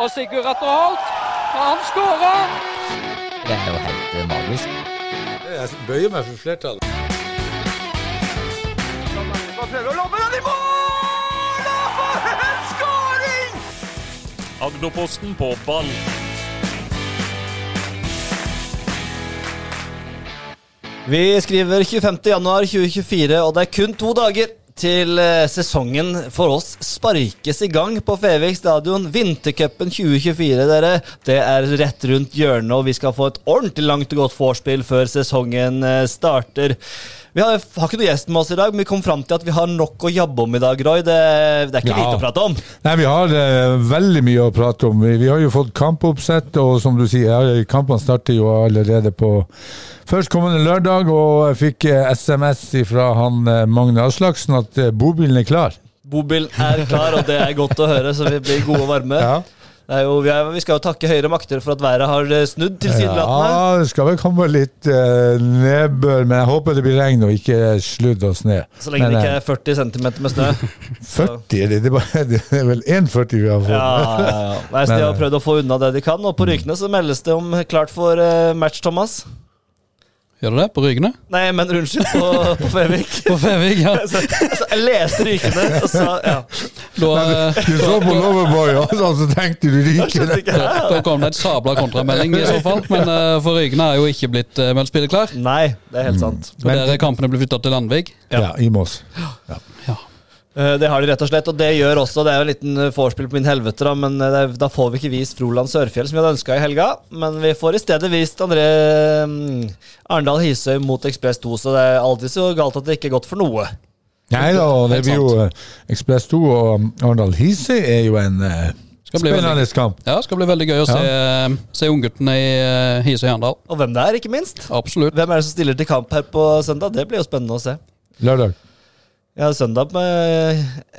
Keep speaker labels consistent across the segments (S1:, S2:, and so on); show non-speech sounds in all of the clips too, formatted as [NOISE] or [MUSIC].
S1: og Sigurd Ratterholt. Og han skårer!
S2: Det er jo helt eh, magisk.
S3: Jeg bøyer meg for flertallet.
S4: Agderposten på ball.
S5: Vi skriver 25. januar 2024, og det er kun to dager til eh, sesongen for oss sparkes i gang på Fevik stadion. Vintercupen 2024, dere. Det er rett rundt hjørnet, og vi skal få et ordentlig langt og godt vorspiel før sesongen eh, starter. Vi har, har ikke noe gjest med oss i dag, men vi kom fram til at vi har nok å jabbe om i dag, Roy. Det, det er ikke
S3: Ja.
S5: lite å prate om.
S3: Nei, vi har eh, veldig mye å prate om. Vi, vi har jo fått kampoppsett, og som du sier, ja, kampene starter jo allerede på førstkommende lørdag. Og jeg fikk eh, SMS fra han eh, Magne Aslaksen at eh, bobilen er klar.
S5: Bobilen er klar, og det er godt å høre, så vi blir gode og varme.
S3: Ja.
S5: Det er jo, vi, er, vi skal jo takke høyere makter for at været har eh, snudd, tilsynelatende.
S3: Ja, det skal vel komme litt eh, nedbør, men jeg håper det blir regn og ikke sludd og snø.
S5: Så lenge
S3: men,
S5: det ikke er 40 cm med snø.
S3: 40, er det, det, er bare, [LAUGHS] det er vel 1,40 vi har fått.
S5: Ja, ja, ja. Nei, så De har prøvd å få unna det de kan, og på Rykene så meldes det om klart for eh, match, Thomas.
S6: Gjør du det? På Rygene?
S5: Nei, men unnskyld, på, på Fevik. [LAUGHS]
S6: På Fevik, ja.
S5: Så, altså, jeg leste Rykene, og så ja.
S6: Da, eh,
S3: Du så på Loverboy, og så- så tenkte du
S5: Jeg
S3: ryker.
S5: skjønte ikke det.
S6: da kom det et sabla kontramelding i så fall. Men eh, for Rygene er jo ikke blitt eh, meldt spilleklar.
S5: Nei, det er helt sant.
S6: Og der er kampene blitt flytta til Landvik.
S3: Ja, i Moss.
S5: Eh, Det har de rett og slett, og det gjør også Det er jo en liten eh, vorspiel på min helvete, da, men eh, det, er- da får vi ikke vist Froland Sørfjell, som vi hadde ønska i helga. Men vi får i stedet vist André mm, Arendal Hisøy mot Ekspress 2, så det er alltid så galt at det ikke er godt for noe.
S3: Nei da, og det
S6: Helt
S3: blir jo eh, Ekspress 2 og um, Arendal Hisøy er jo en eh,
S6: Skal bli veldig-
S3: spennende kamp.
S6: Ja, skal bli veldig gøy å se, eh, se ungguttene i eh, Hisøy Arendal.
S5: Og hvem det er, ikke minst.
S6: Absolutt.
S5: Hvem er det som stiller til kamp her på søndag? Det blir jo spennende å se.
S3: Lørdag.
S5: Ja, søndag med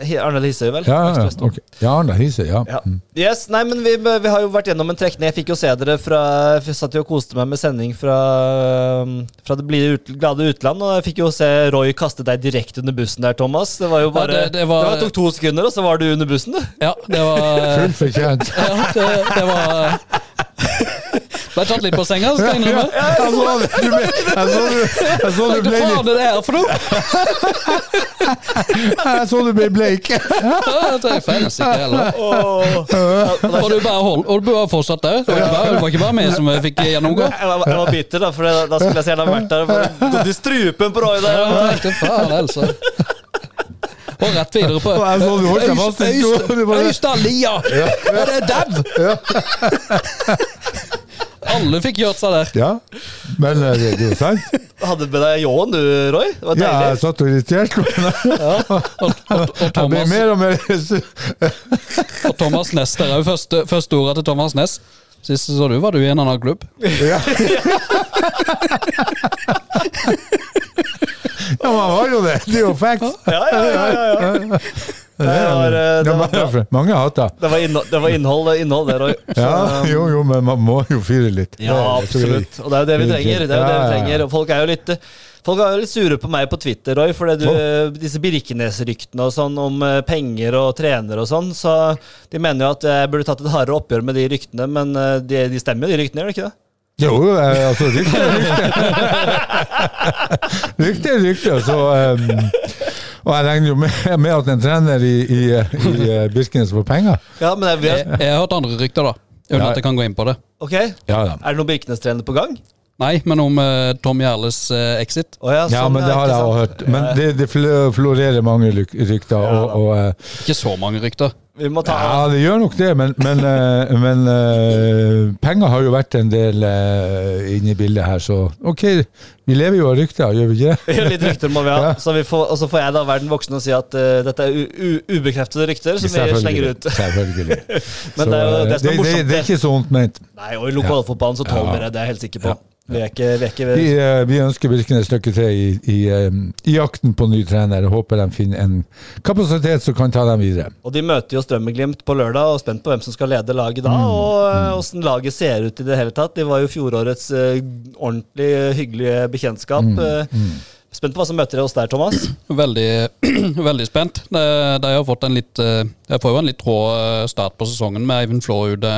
S5: Hi- Arendal Hisøy, vel?
S3: Ja, ja,
S5: Ekspress to.
S3: ok. ja Arendal Hisøy, ja.
S5: Ja.
S3: Mm.
S5: Yes, nei, men vi, vi har jo vært gjennom en trekning. Jeg fikk jo se dere fra Jeg satt jo og koste meg med sending fra, øhm, fra det blide ut, glade utland, og jeg fikk jo se Roy kaste deg direkte under bussen der, Thomas. Det var jo bare
S6: Ja, det- det var-
S5: tok to sekunder, og så var du under bussen, du.
S6: Ja, det var eh,
S3: [LAUGHS] Fullt
S6: [LAUGHS]
S3: fortjent.
S6: ja, det, det var eh, Ble tatt litt på senga, skal jeg innrømme.
S3: Jeg så det, du ble- jeg så du- jeg så du
S6: Hva
S3: ble
S6: faen
S3: litt
S6: er det her for noe?!
S3: Jeg så du ble bleik.
S6: Ja, Det er feil, sikkert
S3: [LAUGHS]
S6: heller.
S5: Åh.
S6: Og du bare hold, og du var fortsatt der. Det var ikke bare, det var ikke bare meg som eh, fikk gjennomgå.
S5: Jeg var, jeg var bitter, da, for da- da skulle jeg så gjerne ha vært der og gått i strupen på Roy der.
S6: Ja, jeg tenkte, faen, altså. Og rett videre på
S3: Og jeg så du holdt deg fast i
S6: Øyst-
S3: stolen, du bare-
S6: Øystalia!
S3: [LAUGHS]
S6: Er det dau? Alle fikk gjort seg der.
S3: Ja, men eh, det det er jo sant.
S5: Hadde med deg ljåen, du, Roy. Det var
S3: Ja, jeg
S5: deilig.
S3: satt og irriterte meg.
S6: Og
S3: Jeg ble
S6: Thomas,
S3: mer og mer [LAUGHS]
S6: og Thomas Næss der òg. Første, første ordet til Thomas Næss. Sist så du, var du i en annen klubb. [LAUGHS]
S3: Ja, Ja, man var jo det. Det er jo facts.
S5: Ja, ja, ja, ja, ja. Det var, eh, det
S3: Ja,
S5: var,
S3: mange,
S5: bra.
S3: mange har hatt det.
S5: det var, innhold, det, var innhold, innhold, det, Roy. Så,
S3: Ja,
S5: øhm,
S3: [LAUGHS] jo, jo, men man må jo fyre litt.
S5: Ja, absolutt. Og det er jo det vi trenger. Det er jo det vi trenger. Og folk er jo litt Folk er jo litt sure på meg på Twitter, Roy, for det du, disse Birkenes-ryktene og sånn om eh, penger og trenere og sånn, så de mener jo at jeg burde tatt et hardere oppgjør med de ryktene, men eh, de, de stemmer jo, de ryktene, gjør de ikke det?
S3: Jo, jo, eh, altså, rykte er [LAUGHS] rykte. Rykte er rykte, så eh, Og jeg regner jo med, med at en trener i, i, eh, i eh, Birkenes får penger.
S5: Ja, men det
S6: Jeg,
S5: er,
S6: jeg har hørt andre rykter, da. Uten
S3: Ja.
S6: at jeg kan gå inn på det.
S5: Ok, er
S3: Ja da.
S5: det noen Birkenes-trener på gang?
S6: Nei, men om eh, Tom Gjerles eh, exit.
S5: Å ja,
S3: Ja,
S5: sånn,
S3: men det har
S5: ikke
S3: jeg
S5: sant?
S3: også hørt. Men det, det fl- florerer mange lyk- rykter. Og, og, eh,
S6: Ikke så mange rykter.
S5: Vi må ta [LAUGHS]
S3: ja, det gjør nok det, men, men, eh, men eh, penger har jo vært en del eh, inne i bildet her, så OK. Vi lever jo av rykter, gjør vi ikke det?
S5: Litt rykter må vi ha,
S3: Ja.
S5: så vi får, og så får jeg da være den voksne og si at eh, dette er u u ubekreftede rykter som vi slenger ut.
S3: Selvfølgelig.
S5: [LAUGHS] Men det er jo det som
S3: det,
S5: er
S3: det,
S5: morsomt.
S3: det er ikke så vondt ment.
S5: Nei, og i lokalfotballen så tåler vi det, det er jeg helt sikker på. Vi er ikke, vi er ikke
S3: Vi, eh, vi ønsker Birkenes lykke til i, i, eh, i jakten på ny trener. Jeg Håper de finner en kapasitet som kan ta dem videre.
S5: Og de møter jo Strømmeglimt på lørdag, og spent på hvem som skal lede laget
S3: Mm.
S5: da, og åssen laget ser
S3: Mm.
S5: ut i det hele tatt. De var jo fjorårets eh, ordentlig hyggelige bekjentskap. eh, Spent på hva som møter dere hos der, Thomas.
S6: Veldig, [CLEARS THROAT] veldig spent. De, de har fått en litt eh, Jeg får jo en litt rå eh, start på sesongen med Eivind Flå ute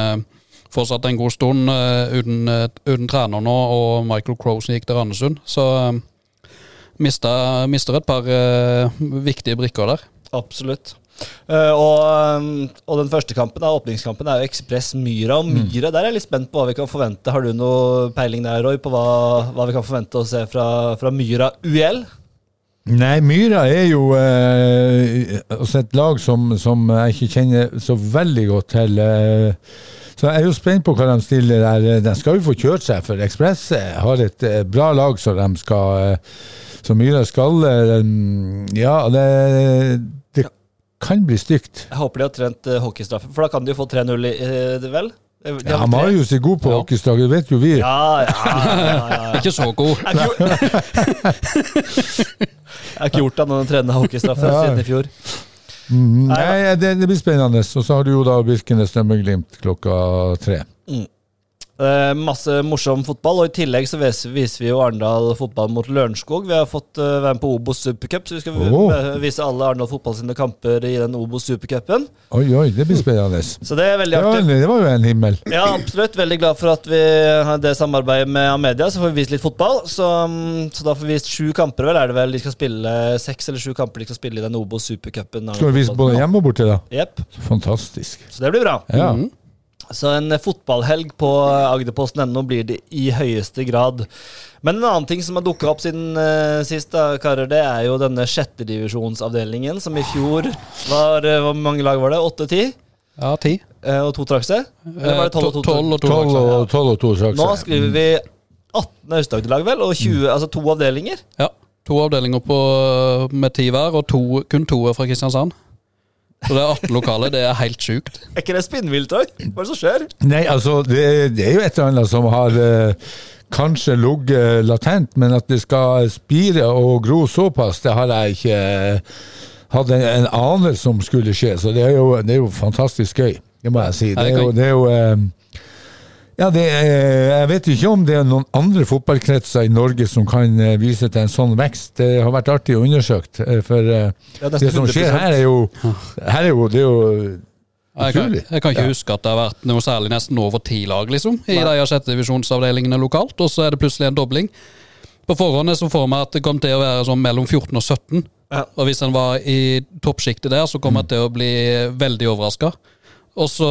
S6: fortsatt en god stund eh, uten, eh, uten trener nå, og Michael Crowe som gikk til Randesund. Så eh, mista, mister et par eh, viktige brikker der.
S5: Absolutt. Eh, og, eh, og den første kampen, da, åpningskampen, er jo Ekspress Myra. Og
S3: Mm.
S5: Myra, der er jeg litt spent på hva vi kan forvente. Har du noe peiling der, Roy, på hva, hva vi kan forvente å se fra, fra Myra UL?
S3: Nei, Myra er jo eh, altså et lag som, som jeg ikke kjenner så veldig godt til. Eh, så jeg er jo spent på hva de stiller der. De skal jo få kjørt seg, for Ekspress eh, har et eh, bra lag som de skal eh, Så Myra skal eh, Ja, det, det kan bli stygt.
S5: Jeg håper de har trent eh, hockeystraffe, for da kan de jo få 3-0, i- eh, det vel? De har
S3: Ja,
S5: vel tre?
S3: Marius er god på
S6: Ja.
S3: hockeyslag, det vet jo vi.
S5: Ja, ja, ja, ja, ja.
S6: Ikke så
S5: [LAUGHS]
S6: god.
S5: Jeg har ikke gjort- Jeg har ikke gjort annet enn å trene hockeystraffe
S3: Ja.
S5: siden i fjor.
S3: Mhm.
S5: Nei,
S3: Nei, det, det blir spennende. Og så har du jo da Birkenes Strømmeglimt klokka tre.
S5: Eh, masse morsom fotball, og i tillegg så vis- viser vi jo Arendal fotball mot Lørenskog. Vi har fått eh, være med på Obos Supercup, så vi skal
S3: Oh.
S5: eh, vise alle Arendal fotball sine kamper i den Obos Supercupen.
S3: Oi, oi, det blir spennende.
S5: Så det er veldig
S3: Det var, en-
S5: artig.
S3: det var jo en himmel.
S5: Ja, absolutt. Veldig glad for at vi har det samarbeidet med Amedia, så får vi vist litt fotball. Så, mm, så da får vi vist sju kamper, vel, er det vel de skal spille seks eller sju kamper de skal spille i den Obos Supercupen.
S3: Skal vi vise både hjemme og borte, da?
S5: Jepp.
S3: Fantastisk.
S5: Så det blir bra.
S3: Ja.
S6: Mhm.
S5: Så en eh, fotballhelg på Agderposten.no blir det i høyeste grad. Men en annen ting som har dukka opp siden eh, sist, da, karer, det er jo denne sjettedivisjonsavdelingen, som i fjor var eh, Hvor mange lag var det? Åtte-ti?
S6: Ja, ti.
S5: og to trakk seg? Eller var det tolv og to?
S6: Tolv og to.
S3: Tolv
S6: også.
S3: og, tolv og to straks.
S5: Nå skriver vi 18 Aust-Agder-lag, vel? Og 20, altså to avdelinger?
S6: Ja. To avdelinger på, eh, med ti hver, og to, kun to er fra Kristiansand. Så det er 18 lokaler. Det er helt sjukt.
S5: Er ikke det spinnvilt, Roy? Hva er det som skjer?
S3: Nei, altså, det, er- det er jo et eller annet som har eh, kanskje ligget eh, latent, men at det skal spire og gro såpass, det har jeg ikke eh, hatt en, en anelse om skulle skje. Så det er jo, det er jo fantastisk gøy, det må jeg si.
S6: Ja,
S3: Det
S6: det
S3: er
S6: kan-
S3: jo, det er jo eh, ja, det er, Jeg vet ikke om det er noen andre fotballkretser i Norge som kan eh, vise til en sånn vekst. Det har vært artig å undersøkt. eh, For eh,
S5: Ja, nesten
S3: det som skjer
S5: 100%.
S3: her, er jo, her er jo, det er jo
S6: Jeg kan,
S3: Utrolig.
S6: jeg kan ikke huske at det har vært noe særlig nesten over ti lag, liksom, i de sjettedivisjonsavdelingene lokalt, og så er det plutselig en dobling. På forhånd så får vi at det kom til å være sånn mellom 14 og 17.
S5: Ja.
S6: Og hvis en var i toppsjiktet der, så kom jeg til å bli veldig overraska. Og så,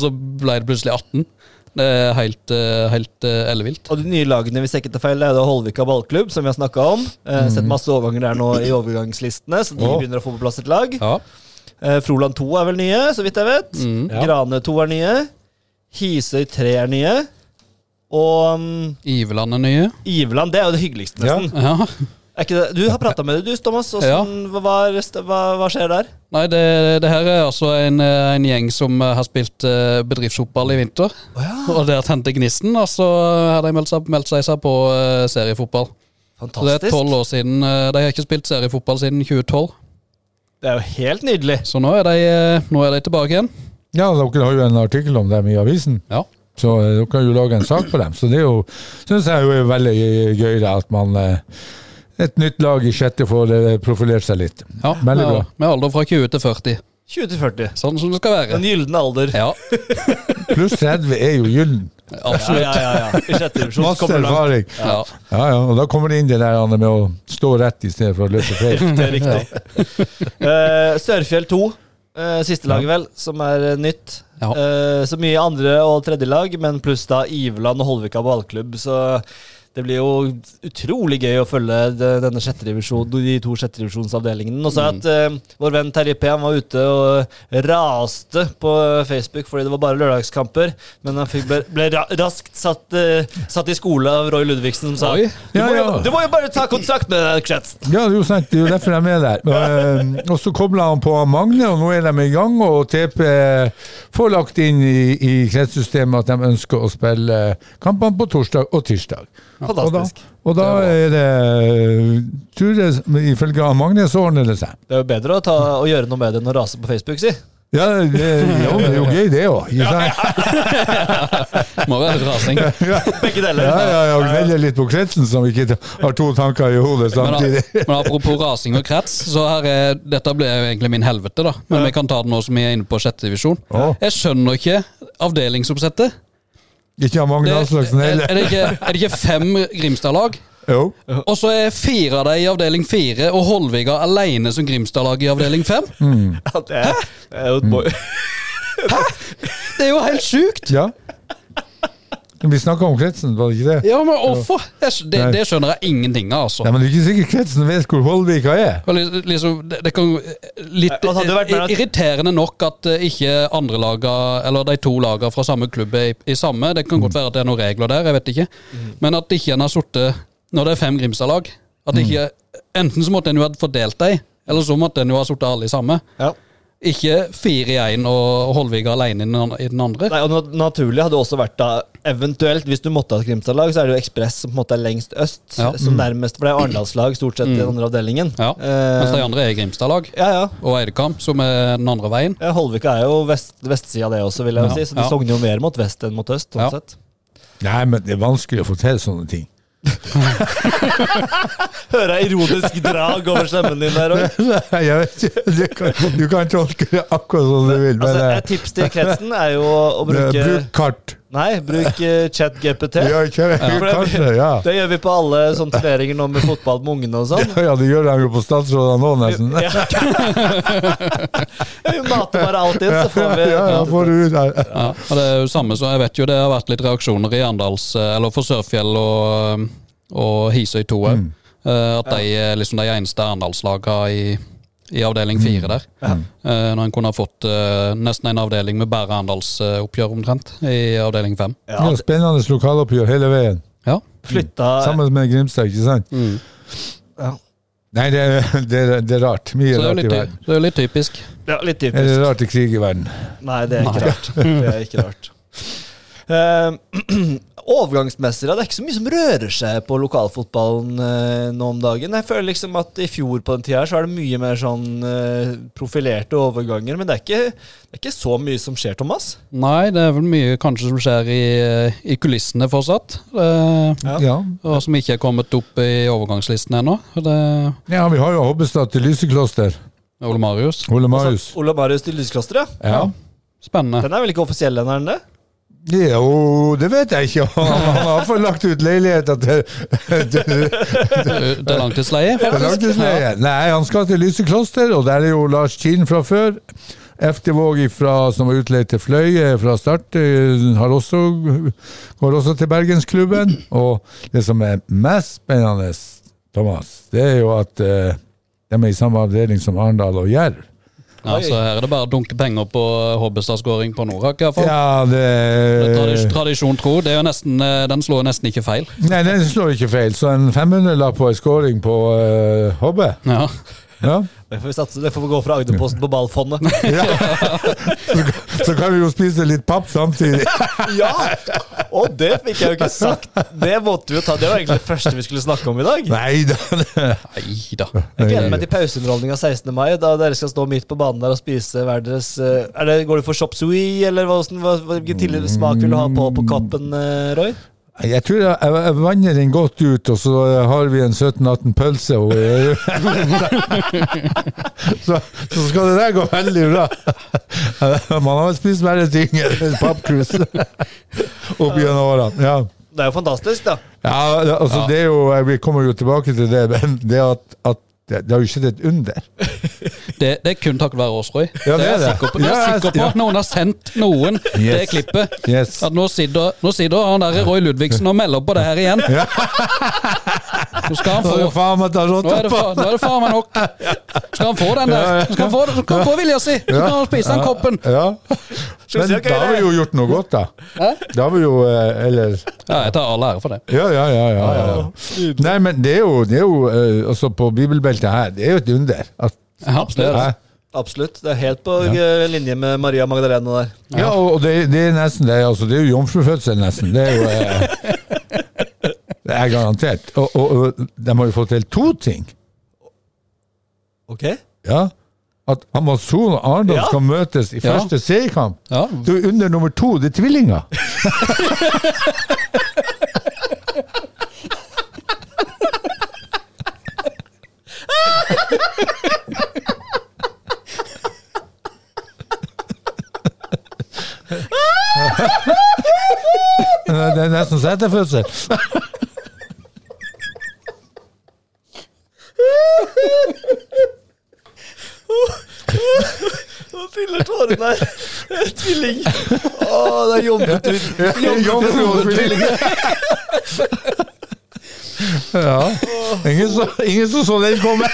S6: så [LAUGHS] ble det plutselig 18. Det er helt, eh, helt eh, ellevilt.
S5: Og de nye lagene hvis jeg ikke tar feil, det er da Holvika ballklubb, som vi har snakka om. Eh, sett masse overganger der nå i overgangslistene, så de
S3: Å.
S5: begynner å få på plass et lag.
S6: Ja.
S5: Eh, Froland 2 er vel nye, så vidt jeg vet.
S3: Ja.
S5: Grane 2 er nye. Hisøy 3 er nye. Og um,
S6: Iveland er nye.
S5: Iveland, det er jo det hyggeligste, nesten.
S6: Ja.
S5: Er ikke det? Du har prata med det, du, Thomas. Hvordan, hva, hva er- hva, hva skjer der?
S6: Nei, det, det her er altså en, eh, en gjeng som eh, har spilt eh, bedriftsfotball i vinter. Og der tente gnisten, og så eh, har de meldt seg, meldt seg, seg på eh, seriefotball. Så det er
S5: Fantastisk.
S6: tolv år siden. eh, de har ikke spilt seriefotball siden 2012.
S5: Det er jo helt nydelig.
S6: Så nå er de, eh, nå er de tilbake igjen.
S3: Ja, dere har jo en artikkel om dem i avisen,
S6: Ja.
S3: så eh, dere har jo laga en sak på dem. Så det er jo, syns jeg jo er veldig gøy da, at man eh, et nytt lag i sjette får eh, profilert seg litt.
S6: ja
S3: Veldig bra.
S6: Med, med alder fra 20 til 40.
S5: 20 til 40.
S6: Sånn som det skal være.
S5: Den gylne alder.
S6: Ja,
S3: Pluss 30 er jo gyllen.
S5: Ja,
S6: absolutt.
S5: ja, ja, ja. I sjette divisjon så
S3: Masse
S5: kommer det langt.
S3: erfaring.
S6: Ja.
S3: Ja, ja, og da kommer det inn det der Anne, med å stå rett i stedet for å løpe feil.
S5: Det er riktig. Eh, Sørfjell 2, eh, siste laget vel, som er eh, nytt.
S6: Ja.
S5: Eh, så mye andre- og tredjelag, men pluss da Iveland og Holvika ballklubb. Så det blir jo utrolig gøy å følge de- denne sjette divisjon, de to sjetterdivisjonsavdelingene. Og så at eh, vår venn Terje P han var ute og raste på Facebook fordi det var bare lørdagskamper. Men han fikk ble, ble ra raskt satt, eh, satt i skole av Roy Ludvigsen, som sa
S6: Oi.
S5: du,
S3: Ja,
S5: må jo,
S3: ja.
S5: du må jo bare ta kontakt med den kretsen.
S3: Ja, det er jo sant, det er jo derfor de er der. Eh, Og så kobla han på Magne, og nå er de i gang. Og TP får lagt inn i, i kretssystemet at de ønsker å spille kampene på torsdag og tirsdag.
S5: Fantastisk.
S3: Og da, og da er det tror jeg, Ifølge Magne så ordner det seg.
S5: Det er jo bedre å, ta, å gjøre noe med det enn å rase på Facebook, si.
S3: Ja, det, jo, det er jo gøy, det òg.
S6: Må være rasing.
S5: Begge deler.
S3: Ja, ja, ja, og gnelle litt på kretsen, som ikke har to tanker i hodet
S6: Men,
S3: samtidig. [LAUGHS]
S6: men apropos rasing og krets, så her er, dette ble jo egentlig min helvete, da. Men vi kan ta det nå som vi er inne på sjette divisjon.
S3: Å.
S6: Jeg skjønner ikke avdelingsoppsettet.
S3: Ikke av Magne
S6: Det,
S3: Aslaksen
S6: er, er,
S3: heller.
S6: det ikke, er det ikke fem Grimstad-lag?
S3: Jo.
S6: Og så er fire av dem i avdeling fire, og Holviga alene som Grimstad-lag i avdeling fem?
S5: Ja, det er- det er jo et boy.
S6: Det er jo helt sjukt!
S3: Ja. Vi snakka om kretsen, var det ikke det?
S6: Ja, men hvorfor? Jeg skj- Det,
S3: Nei.
S6: det skjønner jeg ingenting av, altså.
S3: Nei, men det er ikke sikkert kretsen vet hvor Holvika er.
S6: Og li- Liksom, det, det kan jo- litt eh,
S5: Nei, altså, det hadde vært mer at-
S6: irriterende nok at eh, ikke andre laga, eller de to laga fra samme klubb er i, i samme. Det kan
S5: Mm.
S6: godt være at det er noen regler der, jeg vet ikke. Men at ikke en har sittet Når det er fem Grimstad-lag at ikke,
S5: Mm.
S6: Enten så måtte en jo ha fordelt dem, eller så måtte en jo ha sittet alle i samme.
S5: Ja.
S6: Ikke fire i én og Holvig alene i den an- i den andre.
S5: Nei, og nat- Naturlig hadde det også vært da eventuelt, hvis du måtte ha et Grimstad-lag, så er det jo Ekspress som på en måte er lengst øst,
S6: Ja.
S5: som nærmest ble Arendalslag stort sett i den andre avdelingen.
S6: Ja,
S5: Eh,
S6: Mens de andre er Grimstad-lag.
S5: ja, ja.
S6: Og Eidekam, som er den andre veien.
S5: Ja, Holvika er jo vest, vestsida, det også, vil jeg jo
S6: Ja.
S5: si. Så de
S6: Ja.
S5: sogner jo mer mot vest enn mot øst. sånn
S6: Ja.
S5: sett.
S3: Nei, men det er vanskelig å få til sånne ting. [LAUGHS]
S5: Hører jeg ironisk drag over stemmen din der òg.
S3: Jeg vet ikke, du kan, du kan tolke det akkurat som du vil, men
S5: Altså,
S3: eh,
S5: et tips til kretsen er jo å
S3: eh,
S5: bruke
S3: bruk kart.
S5: Nei, bruk eh, ChatGPT.
S3: Ja, kjør,
S5: For det-
S3: kartene, ja.
S5: [LAUGHS] Det gjør vi på alle sånne turneringer nå med fotball med ungene og sånn.
S3: ja, det gjør de jo på statsrådene òg, nesten.
S5: Ja. [LAUGHS] Vi mater bare alt inn, så får vi
S3: [LAUGHS] Ja, ja, får du ut eh, her.
S6: Ja, og det er jo samme som, jeg vet jo det har vært litt reaksjoner i Arendals, eh, eller for Sørfjell og, eh, og Hisøy 2 òg. At de er liksom de eneste Arendalslagene i, i avdeling fire der. Eh, Når en kunne ha fått eh, nesten en avdeling med bare Arendalsoppgjør omtrent i avdeling fem.
S5: Ja,
S3: Ja, spennende lokaloppgjør hele veien.
S6: Ja.
S5: flytta
S3: Sammen med Grimstad, ikke sant?
S5: Mm. Ja.
S3: Nei, det er, det, er, det er rart. Mye
S6: Så det er jo
S3: rart i
S6: litt,
S3: verden.
S6: ty- det er jo litt typisk.
S5: ja, Litt
S3: Er det
S5: typisk.
S3: rart i krig i verden?
S5: Nei, det er ikke rart. Det er ikke rart. Eh, [CLEARS THROAT] overgangsmessig, da, det er ikke så mye som rører seg på lokalfotballen eh, nå om dagen. Jeg føler liksom at i fjor på den tida her så er det mye mer sånn eh, profilerte overganger, men det er, ikke, det er ikke så mye som skjer, Thomas.
S6: Nei, det er vel mye kanskje som skjer i, eh, i kulissene fortsatt. eh,
S5: Ja.
S3: Ja.
S6: Og som ikke er kommet opp i overgangslisten ennå. Det er
S3: ja, vi har jo Hobbestad til Lysekloster.
S6: Ole Marius.
S3: Ole Marius.
S5: Ola Marius til Lysekloster, ja.
S3: Ja.
S6: Spennende.
S5: Den er vel ikke offisiell, den er den det?
S3: Jo, det vet jeg ikke. [LAUGHS] Han har fått lagt ut leiligheter til, til
S6: Det er langtidsleie,
S3: Det er
S6: faktisk.
S3: langtidsleie. Nei, han skal til Lysekloster, og der er jo Lars Kinn fra før. Eftevåg ifra, som var utleid til Fløye fra start, eh, har også, går også til Bergensklubben. Og det som er mest spennende, Thomas, det er jo at eh, de er i samme avdeling som Arendal og Jerv.
S6: Ja, så her er det bare å dunke penger på Hobbestad-skåring på Norak. i hvert fall.
S3: Ja, eh.
S6: Tradis-
S3: det
S6: Tradisjon tro, det er jo nesten, eh, den slår nesten ikke feil.
S3: Nei, den slår ikke feil. Så en 500-lapp og en scoring på eh, Hobbe.
S6: Ja.
S3: Ja.
S5: Det får vi satse, det får vi gå fra Agderposten på ballfondet.
S3: ja. Så, så kan vi jo spise litt papp samtidig.
S5: [LAUGHS] ja! Og det fikk jeg jo ikke sagt. Det måtte vi jo ta. Det var egentlig det første vi skulle snakke om i dag.
S3: Nei da.
S6: Nei da.
S5: Jeg gleder meg til pauseunderholdninga 16. mai, da dere skal stå midt på banen der og spise hver deres eh, er det, Går du for chop sui, eller hva, hvordan- hva, hvilken tidligere smak vil du ha på på koppen, eh, Roy?
S3: Jeg tror jeg, jeg, jeg vanner den godt ut, og så eh, har vi en 17-18 pølse. Og, eh, [LAUGHS] så, så skal det der gå veldig bra. [LAUGHS] Man har spist verre ting enn pappkrus opp gjennom årene. Ja.
S5: Det er jo fantastisk, da.
S3: Ja, altså, Det er jo, eh, vi kommer jo tilbake til det, men det at, at det, det har jo skjedd et under.
S6: Det, det er kun takket være oss, Roy.
S3: Ja, det
S6: jeg
S3: er det.
S6: sikker på. Jeg
S3: Ja,
S6: er sikker på
S3: ja.
S6: at noen har sendt noen det
S3: Yes.
S6: klippet.
S3: Yes.
S6: At nå sitter, nå sitter han der Roy Ludvigsen og melder på det her igjen. Nå skal han
S3: Så
S6: få
S3: faen meg
S6: Nå
S3: ta
S6: er
S3: rotta
S6: det,
S3: på!
S6: fa- nå er det faen meg nok. Skal han få den der? Skal han få, så skal han få vilja si? Så kan han spise den koppen.
S3: Ja.
S6: [LAUGHS]
S3: Men
S5: Skal vi si, ok,
S3: da har
S5: det-
S3: vi jo gjort noe godt, da.
S6: Hæ?
S3: Da har vi jo eh, Eller
S6: Ja, jeg tar all ære for det.
S3: Ja, ja, ja. ja, ja. Nei, men det er jo, det er jo eh, altså på bibelbeltet her, det er jo et under. At,
S6: Ja, det er det.
S3: Hæ?
S5: Absolutt. Det er helt på eh, linje med Maria Magdalena der.
S3: ja, og det, det er nesten det. Altså, det er jo jomfrufødsel, nesten. Det er jo
S6: [LAUGHS]
S3: eh, Det er garantert. Og, og, og de har jo fått til to ting.
S5: Ok?
S3: Ja. at Amazon og Arendal
S5: Ja.
S3: skal møtes i
S6: Ja.
S3: første seriekamp.
S6: Ja.
S3: Du er under nummer to, det er tvillinger! Det er nesten seterfødsel.
S5: Nå fyller tårene her. [LAUGHS] Tvilling. Å, det er jomfrutur.
S3: Jomfrutvillinger. Ja. Ingen, så, ingen som så den komme.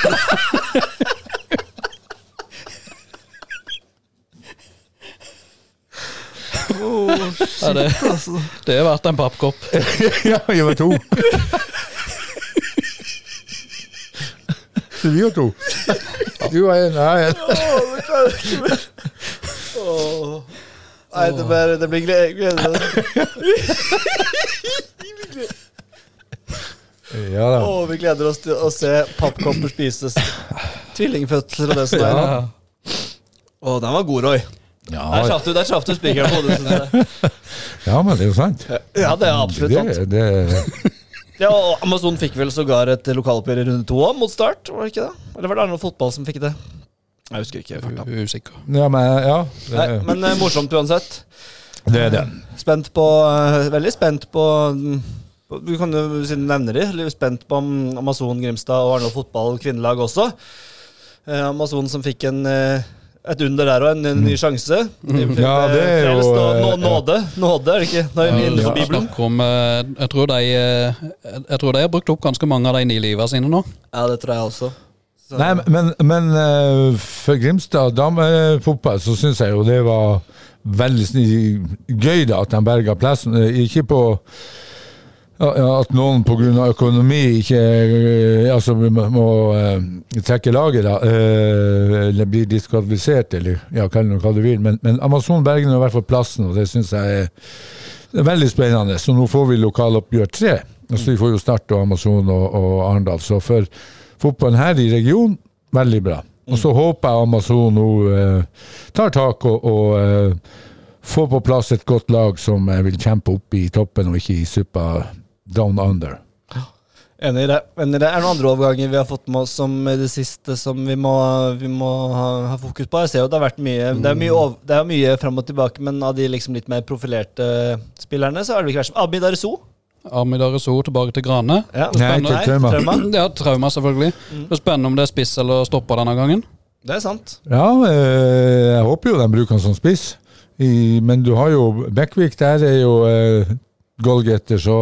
S6: Ja, det,
S5: altså.
S6: det er verdt en pappkopp.
S3: [LAUGHS] Ja, vi var to. Så vi var to. Du var en, jeg er en.
S5: Å, det klarer jeg ikke mer. Åh. Nei, det blir, det blir glede. glede.
S3: Ja da.
S5: Åh, vi gleder oss til å se pappkopper spises. Tvillingfødsler og det som er.
S3: Ja.
S5: Åh, den var god, Roy. Der
S3: Ja,
S5: traff du, der traff du spikeren på hodet. synes jeg.
S3: ja, men det er jo sant.
S5: [LAUGHS] Ja, det er absolutt sant.
S3: Det, det,
S5: Ja, og Amazon fikk vel sågar et lokaloppgjør i runde to òg, mot Start? Var det ikke det? Eller var det annen fotball som fikk det? Jeg husker ikke. farta.
S6: Usikker.
S3: ja, men ja.
S5: Nei,
S3: Det,
S5: men eh, morsomt uansett.
S3: det er det.
S5: Spent på eh, Veldig spent på mm, på- Du kan jo siden du nevner de. litt Spent på mm, Amazon Grimstad og Arendal fotball kvinnelag også. Eh, Amazon som fikk en eh, et under der og en, en ny sjanse.
S3: Mm. Ja, det er
S5: Frelst
S3: jo,
S5: og nå,
S3: eh,
S5: nåde. Nåde, er det ikke? Nå er vi inne på Bibelen.
S6: Snakk om, eh, jeg, tror de, eh, jeg tror de har brukt opp ganske mange av de ni livene sine nå.
S5: Ja, det tror jeg også. Så-
S3: Nei, men, men eh, for Grimstad damefotball så syns jeg jo det var veldig sni- gøy da at de berga plassen. Eh, Ikke på ja, ja, at noen pga. økonomi ikke eh, altså må- må eh, trekke laget, da. eh, Eller blir diskvalifisert, eller ja, kall det nå hva du vil. Men, men Amazon Bergen har i hvert fall plassen, og det syns jeg er det er veldig spennende. Så nå får vi lokaloppgjør tre. Altså, vi får jo Start og Amazon og, og Arendal. Så for fotballen her i regionen, veldig bra. Og så håper jeg Amazon nå eh, tar tak og, og eh, får på plass et godt lag som eh, vil kjempe opp i toppen, og ikke i suppa down under.
S5: Enig i det. Enig i det. Er det noen andre overganger vi har fått med oss som eh, det siste som vi må, vi må ha, ha fokus på? Jeg ser jo det har vært mye Det er mye,
S3: Mm.
S5: ov- det er mye fram og tilbake, men av de liksom litt mer profilerte spillerne, så har det ikke vært som Abid Arizo.
S6: Amid Arizor tilbake til Grane.
S5: Ja,
S3: Nei,
S5: spennende.
S3: til Trauma.
S5: Mm.
S6: Ja, trauma, selvfølgelig. Det er spennende om det er spiss eller stopper denne gangen.
S5: Det er sant.
S3: Ja, eh, jeg håper jo de bruker han som spiss, i, men du har jo Bekkvik der er jo eh, goalgetter, så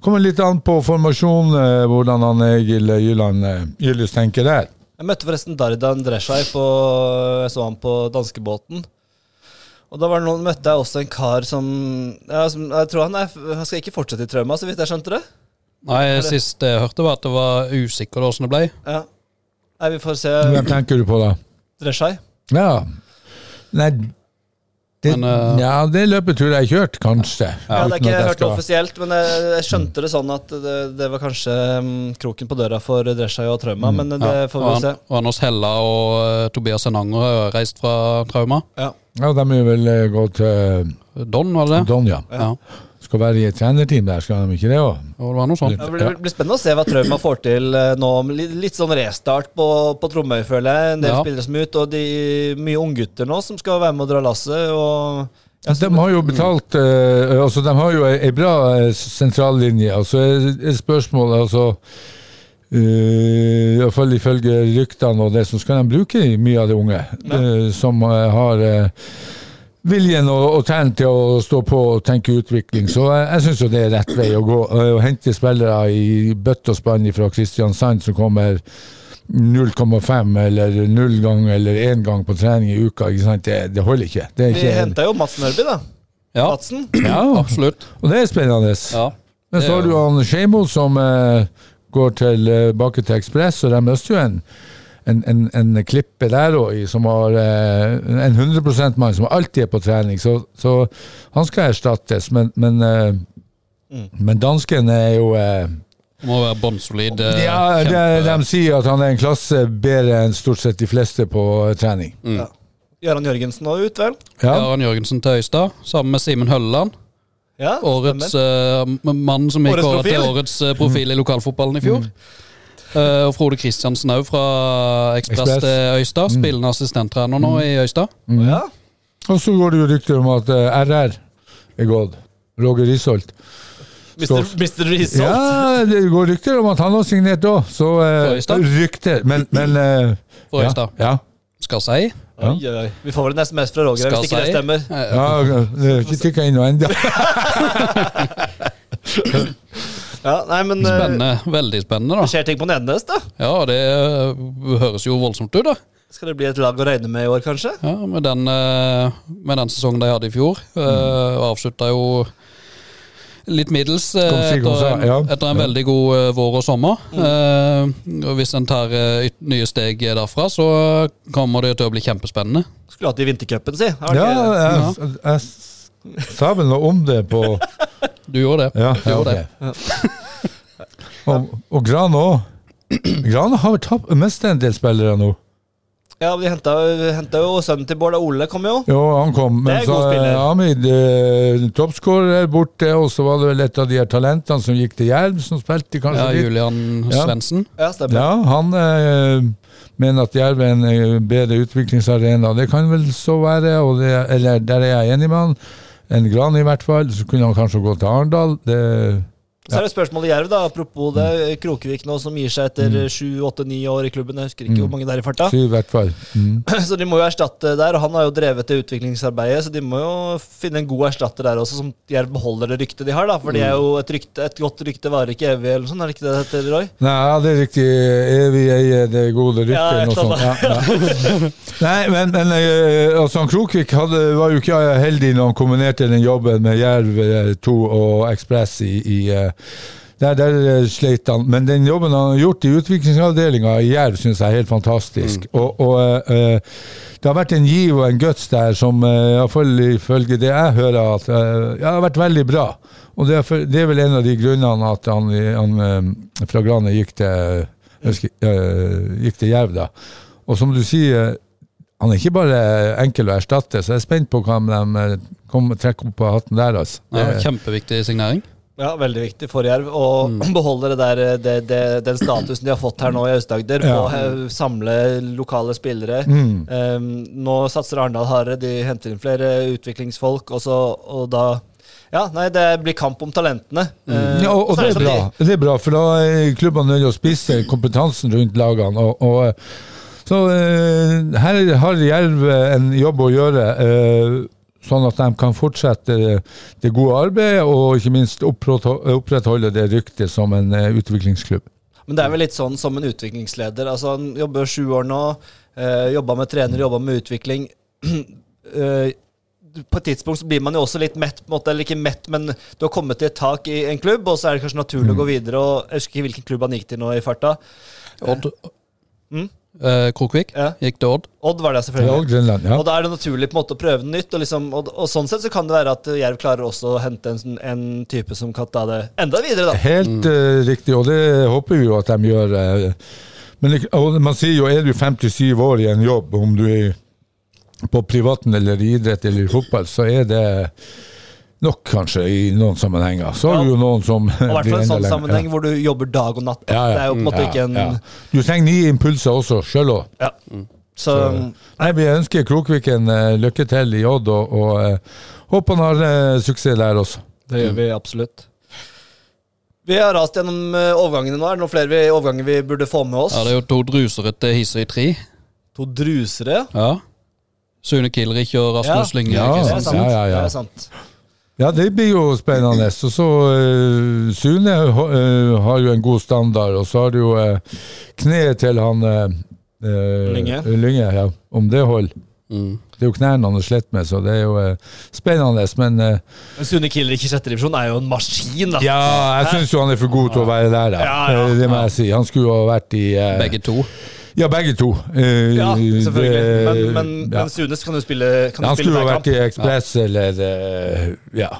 S3: kommer litt an på formasjon eh, hvordan han Egil Jylland eh, Gyllys tenker der.
S5: Jeg møtte forresten Dardan Dreshai på Jeg så han på danskebåten. Og da var det noen, møtte jeg også en kar som, ja, som Jeg tror han, er, han skal ikke fortsette i trauma, så vidt jeg skjønte det.
S6: Nei, sist jeg hørte, var at det var usikkert hvordan det ble.
S5: Ja. Nei, vi får se.
S3: Hvem tenker du på da?
S5: Dreshai.
S3: Ja. Nei, det,
S6: Men, eh,
S3: ja, det løpetur jeg kjørt, kanskje.
S5: Ja, det er
S3: Uten
S5: ikke
S3: at jeg
S5: hørt
S3: skal-
S5: offisielt, men jeg, jeg skjønte det sånn at det, det var kanskje mm, kroken på døra for Dreshaj og Trauma, men det
S6: Mm. Ja,
S5: får vi
S6: og
S5: jo se.
S6: An- Og Anders Hella og eh, Tobias Enanger har reist fra trauma.
S5: Ja.
S3: Ja, de vil vel eh, gå til
S6: Don, var det det?
S3: Donja.
S6: Ja.
S3: Skal være i et trenerteam der, skal de ikke det òg?
S6: Og det var noe sånt.
S5: Det blir, blir spennende å se hva Trauma får til eh, nå. om Litt, litt sånn restart på, på Tromøy, føler jeg. En del
S6: Ja.
S5: spillere som er ute, og de mye unggutter nå som skal være med og dra lasset. Og ja,
S3: De har jo betalt eh, altså De har jo ei ei bra eh, sentrallinje. Altså er- er spørsmålet altså eh, i hvert fall ifølge ryktene og det som skal de bruke i mye av de unge eh, som eh, har eh, viljen og, og tegn til å stå på og tenke utvikling. Så eh, jeg, jeg syns jo det er rett vei å gå. eh, Å hente spillere i bøtte og spann fra Kristiansand som kommer 0,5 eller 0 gang eller 1 gang på trening i uka, ikke sant? Det, det holder ikke. Det er
S5: vi
S3: ikke
S5: henta jo Madsen Ørby, da.
S6: Ja,
S5: Madsen.
S3: ja,
S6: absolutt.
S3: og det er spennende.
S6: Ja.
S3: Men så har du han Skeimo som eh, går tilbake til Ekspress, og de mister jo en, en, en, en klippe der òg, som har eh, en 100 mann som alltid er på trening, så, så
S6: Mm.
S3: han skal erstattes, men, men, eh, men dansken er jo eh,
S6: Det må være bånnsolid. eh,
S3: Ja, de,
S6: kjempe-
S3: de sier at han er en klasse bedre enn stort sett de fleste på eh, trening.
S5: Ja. Gøran Jørgensen nå ut, vel?
S3: Ja,
S6: Jørgen Jørgensen til Øystad, sammen med Simen Hølleland.
S5: Ja,
S6: Årets
S5: stemmer.
S6: eh, m- mann som gikk
S5: Årets
S6: året til
S5: profil. Mm.
S6: årets eh, profil i lokalfotballen i fjor. Eh, og Frode Kristiansen òg, fra Ekspress
S3: Ekspress. Mm.
S6: til Øystad. Spillende assistenttrener nå i Øystad.
S5: Ja.
S3: Og så går det jo rykter om at eh, RR er gått. Roger Risholt.
S5: Mr. Mr. Result.
S3: Ja, det går rykter om at han har signert òg, så
S6: For
S3: eh,
S6: Øystad?
S3: Rykter, men, men eh,
S6: For
S3: ja,
S6: Øystad.
S3: ja.
S6: Skal si.
S5: Oi, oi, oi. Vi får vel en SMS fra Roger
S6: Skal
S5: hvis ikke det
S6: si.
S5: stemmer.
S6: Eh,
S3: Ja, det tikka inn noe ennå.
S5: Ja, nei, men eh,
S6: Spennende. Veldig spennende, da.
S5: Det skjer ting på Nednes, da.
S6: Ja, det eh, høres jo voldsomt ut, da.
S5: Skal det bli et lag å regne med i år, kanskje?
S6: Ja, med den, eh, med den sesongen de hadde i fjor. eh, og Avslutta jo litt middels eh,
S3: Mm. Kom si, kom
S6: etter,
S3: sa,
S6: en,
S3: ja.
S6: etter en
S3: Ja.
S6: veldig god eh, vår og sommer.
S5: Mm.
S6: Eh, og Hvis en tar eh, yt- nye steg derfra, så kommer det til å bli kjempespennende.
S5: Skulle hatt det i vintercupen, si. Har
S3: Ja,
S5: ikke-
S3: jeg, jeg s- sa vel noe om det på
S6: Du gjorde det.
S3: Ja,
S6: du
S3: ja,
S6: gjorde
S3: ok.
S6: det.
S3: [LAUGHS] Og, og Gran òg. Gran har vel tapt mest en del spillere nå.
S5: ja men De henta- henta jo sønnen til Bård og Ole, kom jo.
S3: Jo, han kom,
S5: Det er
S3: men
S5: en
S3: så
S5: god spiller.
S3: eh, Hamid eh, toppskårer borte, og så var det vel et av de her talentene som gikk til Jerv, som spilte kanskje
S6: Ja,
S3: litt.
S6: Julian
S3: altså, Ja.
S6: Svendsen.
S5: Ja, stemmer.
S3: Ja, han eh, mener at Jerv er en eh, bedre utviklingsarena. Det kan vel så være, og det, eller der er jeg enig med han. En Gran i hvert fall. Så kunne han kanskje gå til Arendal. Det,
S5: Så er det spørsmålet Jerv, da. Apropos det. Krokevik nå som gir
S3: Mm.
S5: seg etter sju, åtte, ni år i klubben. Jeg husker ikke hvor mange det er i farta.
S3: sier i hvert fall. Mm.
S5: [CLEARS THROAT] Så de må jo erstatte der. Og han har jo drevet det utviklingsarbeidet, så de må jo finne en god erstatter der også, som Jerv beholder det ryktet de har, da. For
S3: Mm.
S5: det er jo et, rykte, et godt rykte varer ikke evig, eller noe sånt. Er det ikke det det heter, Roy?
S3: Nei, ja, det er riktig. Evig eier det gode ryktet.
S5: Ja,
S3: eller noe
S5: jeg
S3: sånt.
S5: skjønner.
S3: Ja, ja.
S5: [LAUGHS]
S3: Nei, men, men eh, altså, han Krokvik hadde, var jo ikke heldig når han kombinerte den jobben med Jerv eh, 2 og Ekspress i, i eh, der, der eh, sleit han. Men den jobben han har gjort i utviklingsavdelinga i Jerv, syns jeg er helt fantastisk.
S5: Mm.
S3: Og, og eh, eh, det har vært en giv og en guts der som eh, i hvert fall ifølge det jeg hører, at eh, ja, det har vært veldig bra. Og det er, for, det er vel en av de grunnene at han, han eh, fra Grane gikk til, jeg husker, eh, gikk til Jerv, da. Og som du sier, han er ikke bare enkel å erstatte, så jeg er spent på hva de eh, kommer trekker opp av hatten der, altså.
S6: Ja,
S3: Det-
S6: kjempeviktig signering.
S5: Ja, veldig viktig for Jerv å
S3: Mm.
S5: [CLEARS THROAT] beholde det der, eh, det, det, den statusen de har fått her nå i Aust-Agder, på
S3: Ja.
S5: å eh, samle lokale spillere.
S3: Mm.
S5: Ehm, nå satser Arendal hardere, de henter inn flere utviklingsfolk, og, så, og da Ja, nei, det blir kamp om talentene. Eh,
S3: Mm. Ja, og, og
S5: så
S3: det er
S5: sånn
S3: bra,
S5: de-
S3: det er bra for da er klubbene nødt til å spisse kompetansen rundt lagene. Og, og, eh, så eh, her har Jerv eh, en jobb å gjøre, eh, sånn at de kan fortsette eh, det gode arbeidet og ikke minst opprettho- opprettholde det ryktet som en eh, utviklingsklubb.
S5: Men det er vel litt sånn som en utviklingsleder. Altså, han jobber sju år nå, eh, jobba med trener, jobba med utvikling. [CLEARS THROAT] Eh, på et tidspunkt så blir man jo også litt mett, på en måte, eller ikke mett, men du har kommet til et tak i en klubb, og så er det kanskje naturlig
S3: Mm.
S5: å gå videre. og Jeg husker ikke hvilken klubb han gikk til nå i farta.
S6: Odd
S5: Mm.
S6: eh, Krokvik
S5: Ja.
S6: gikk til Odd.
S5: Odd var det,
S3: Ja,
S5: selvfølgelig.
S3: og Grenland, ja.
S5: Og da er det naturlig på en måte å prøve noe nytt. Og, liksom, og, og sånn sett så kan det være at Jerv klarer også å hente en, sånn- en type som kan ta det enda videre, da.
S3: Helt eh, riktig, og det håper vi jo at de gjør. eh. men det- og man sier jo er du 57 år i en jobb, om du er på privaten eller i idrett eller i fotball, så er det nok kanskje i noen sammenhenger. Så har
S5: Ja.
S3: du jo noen som
S5: Og I hvert
S3: blir
S5: fall i en
S3: enda
S5: sånn
S3: lenger.
S5: sammenheng
S3: Ja.
S5: hvor du jobber dag og natt. da.
S3: Ja, ja.
S5: Det er jo på en måte
S3: Ja,
S5: ikke en
S3: ja. Du trenger nye impulser også, sjøl òg.
S5: Ja. Så,
S3: Nei, Vi ønsker Krokvik en eh, lykke til i Odd, og, og eh, håper han har eh, suksess der også.
S5: Det gjør vi absolutt. Vi har rast gjennom eh, overgangene nå. Er det noen flere vi- overganger vi burde få med oss?
S6: Ja, det er jo to druserete Hisøy 3.
S5: To drusere.
S6: Ja. Sune Kilrich og Rasmus
S5: Ja.
S6: Lynge.
S3: Ja.
S5: Det
S6: Kristiansen.
S5: er sant.
S3: Ja, ja, ja.
S5: Det er sant.
S3: Ja, det blir jo spennende. Og så eh, Sune eh, har jo en god standard, og så har du jo eh, kneet til han eh, eh,
S5: Lynge.
S3: Lynge, ja. Om det holder.
S6: Mm.
S3: Det er jo knærne han er slett med, så det er jo eh, spennende. Men eh,
S5: Men Sune Kilrich i sjette divisjon er jo en maskin, da.
S3: ja, jeg syns jo han er for god til å være der, da.
S5: Ja, ja.
S3: Eh, Det må jeg si. Han skulle jo ha vært i eh,
S6: Begge to.
S3: Ja, begge to. Eh,
S5: Ja, selvfølgelig. Men,
S3: det-
S5: men,
S3: ja.
S5: men Sune kan jo spille, kan
S3: Han
S5: jo spille
S3: skulle jo
S5: hver
S3: vært
S5: kamp.
S3: i Ekspress eller eh, ja.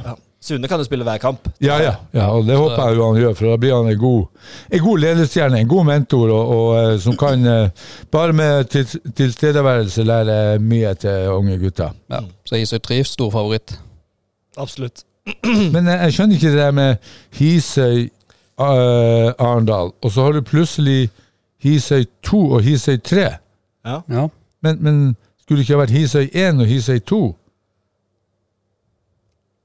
S5: Sune kan jo spille hver kamp.
S3: Ja, ja, ja, og det håper jeg jo han gjør, for da blir han en god, en god ledestjerne, en god mentor, og, og eh, som kan, eh, bare med til, tilstedeværelse, lære mye til unge gutter.
S6: Ja. Så Isøy Trivs, stor favoritt.
S5: Absolutt.
S3: Men eh, jeg, jeg skjønner ikke det der med Hisøy eh, Arendal, og så har du plutselig Hisøy 2 og Hisøy 3.
S6: Ja.
S3: Men, men skulle det ikke ha vært Hisøy 1 og Hisøy 2?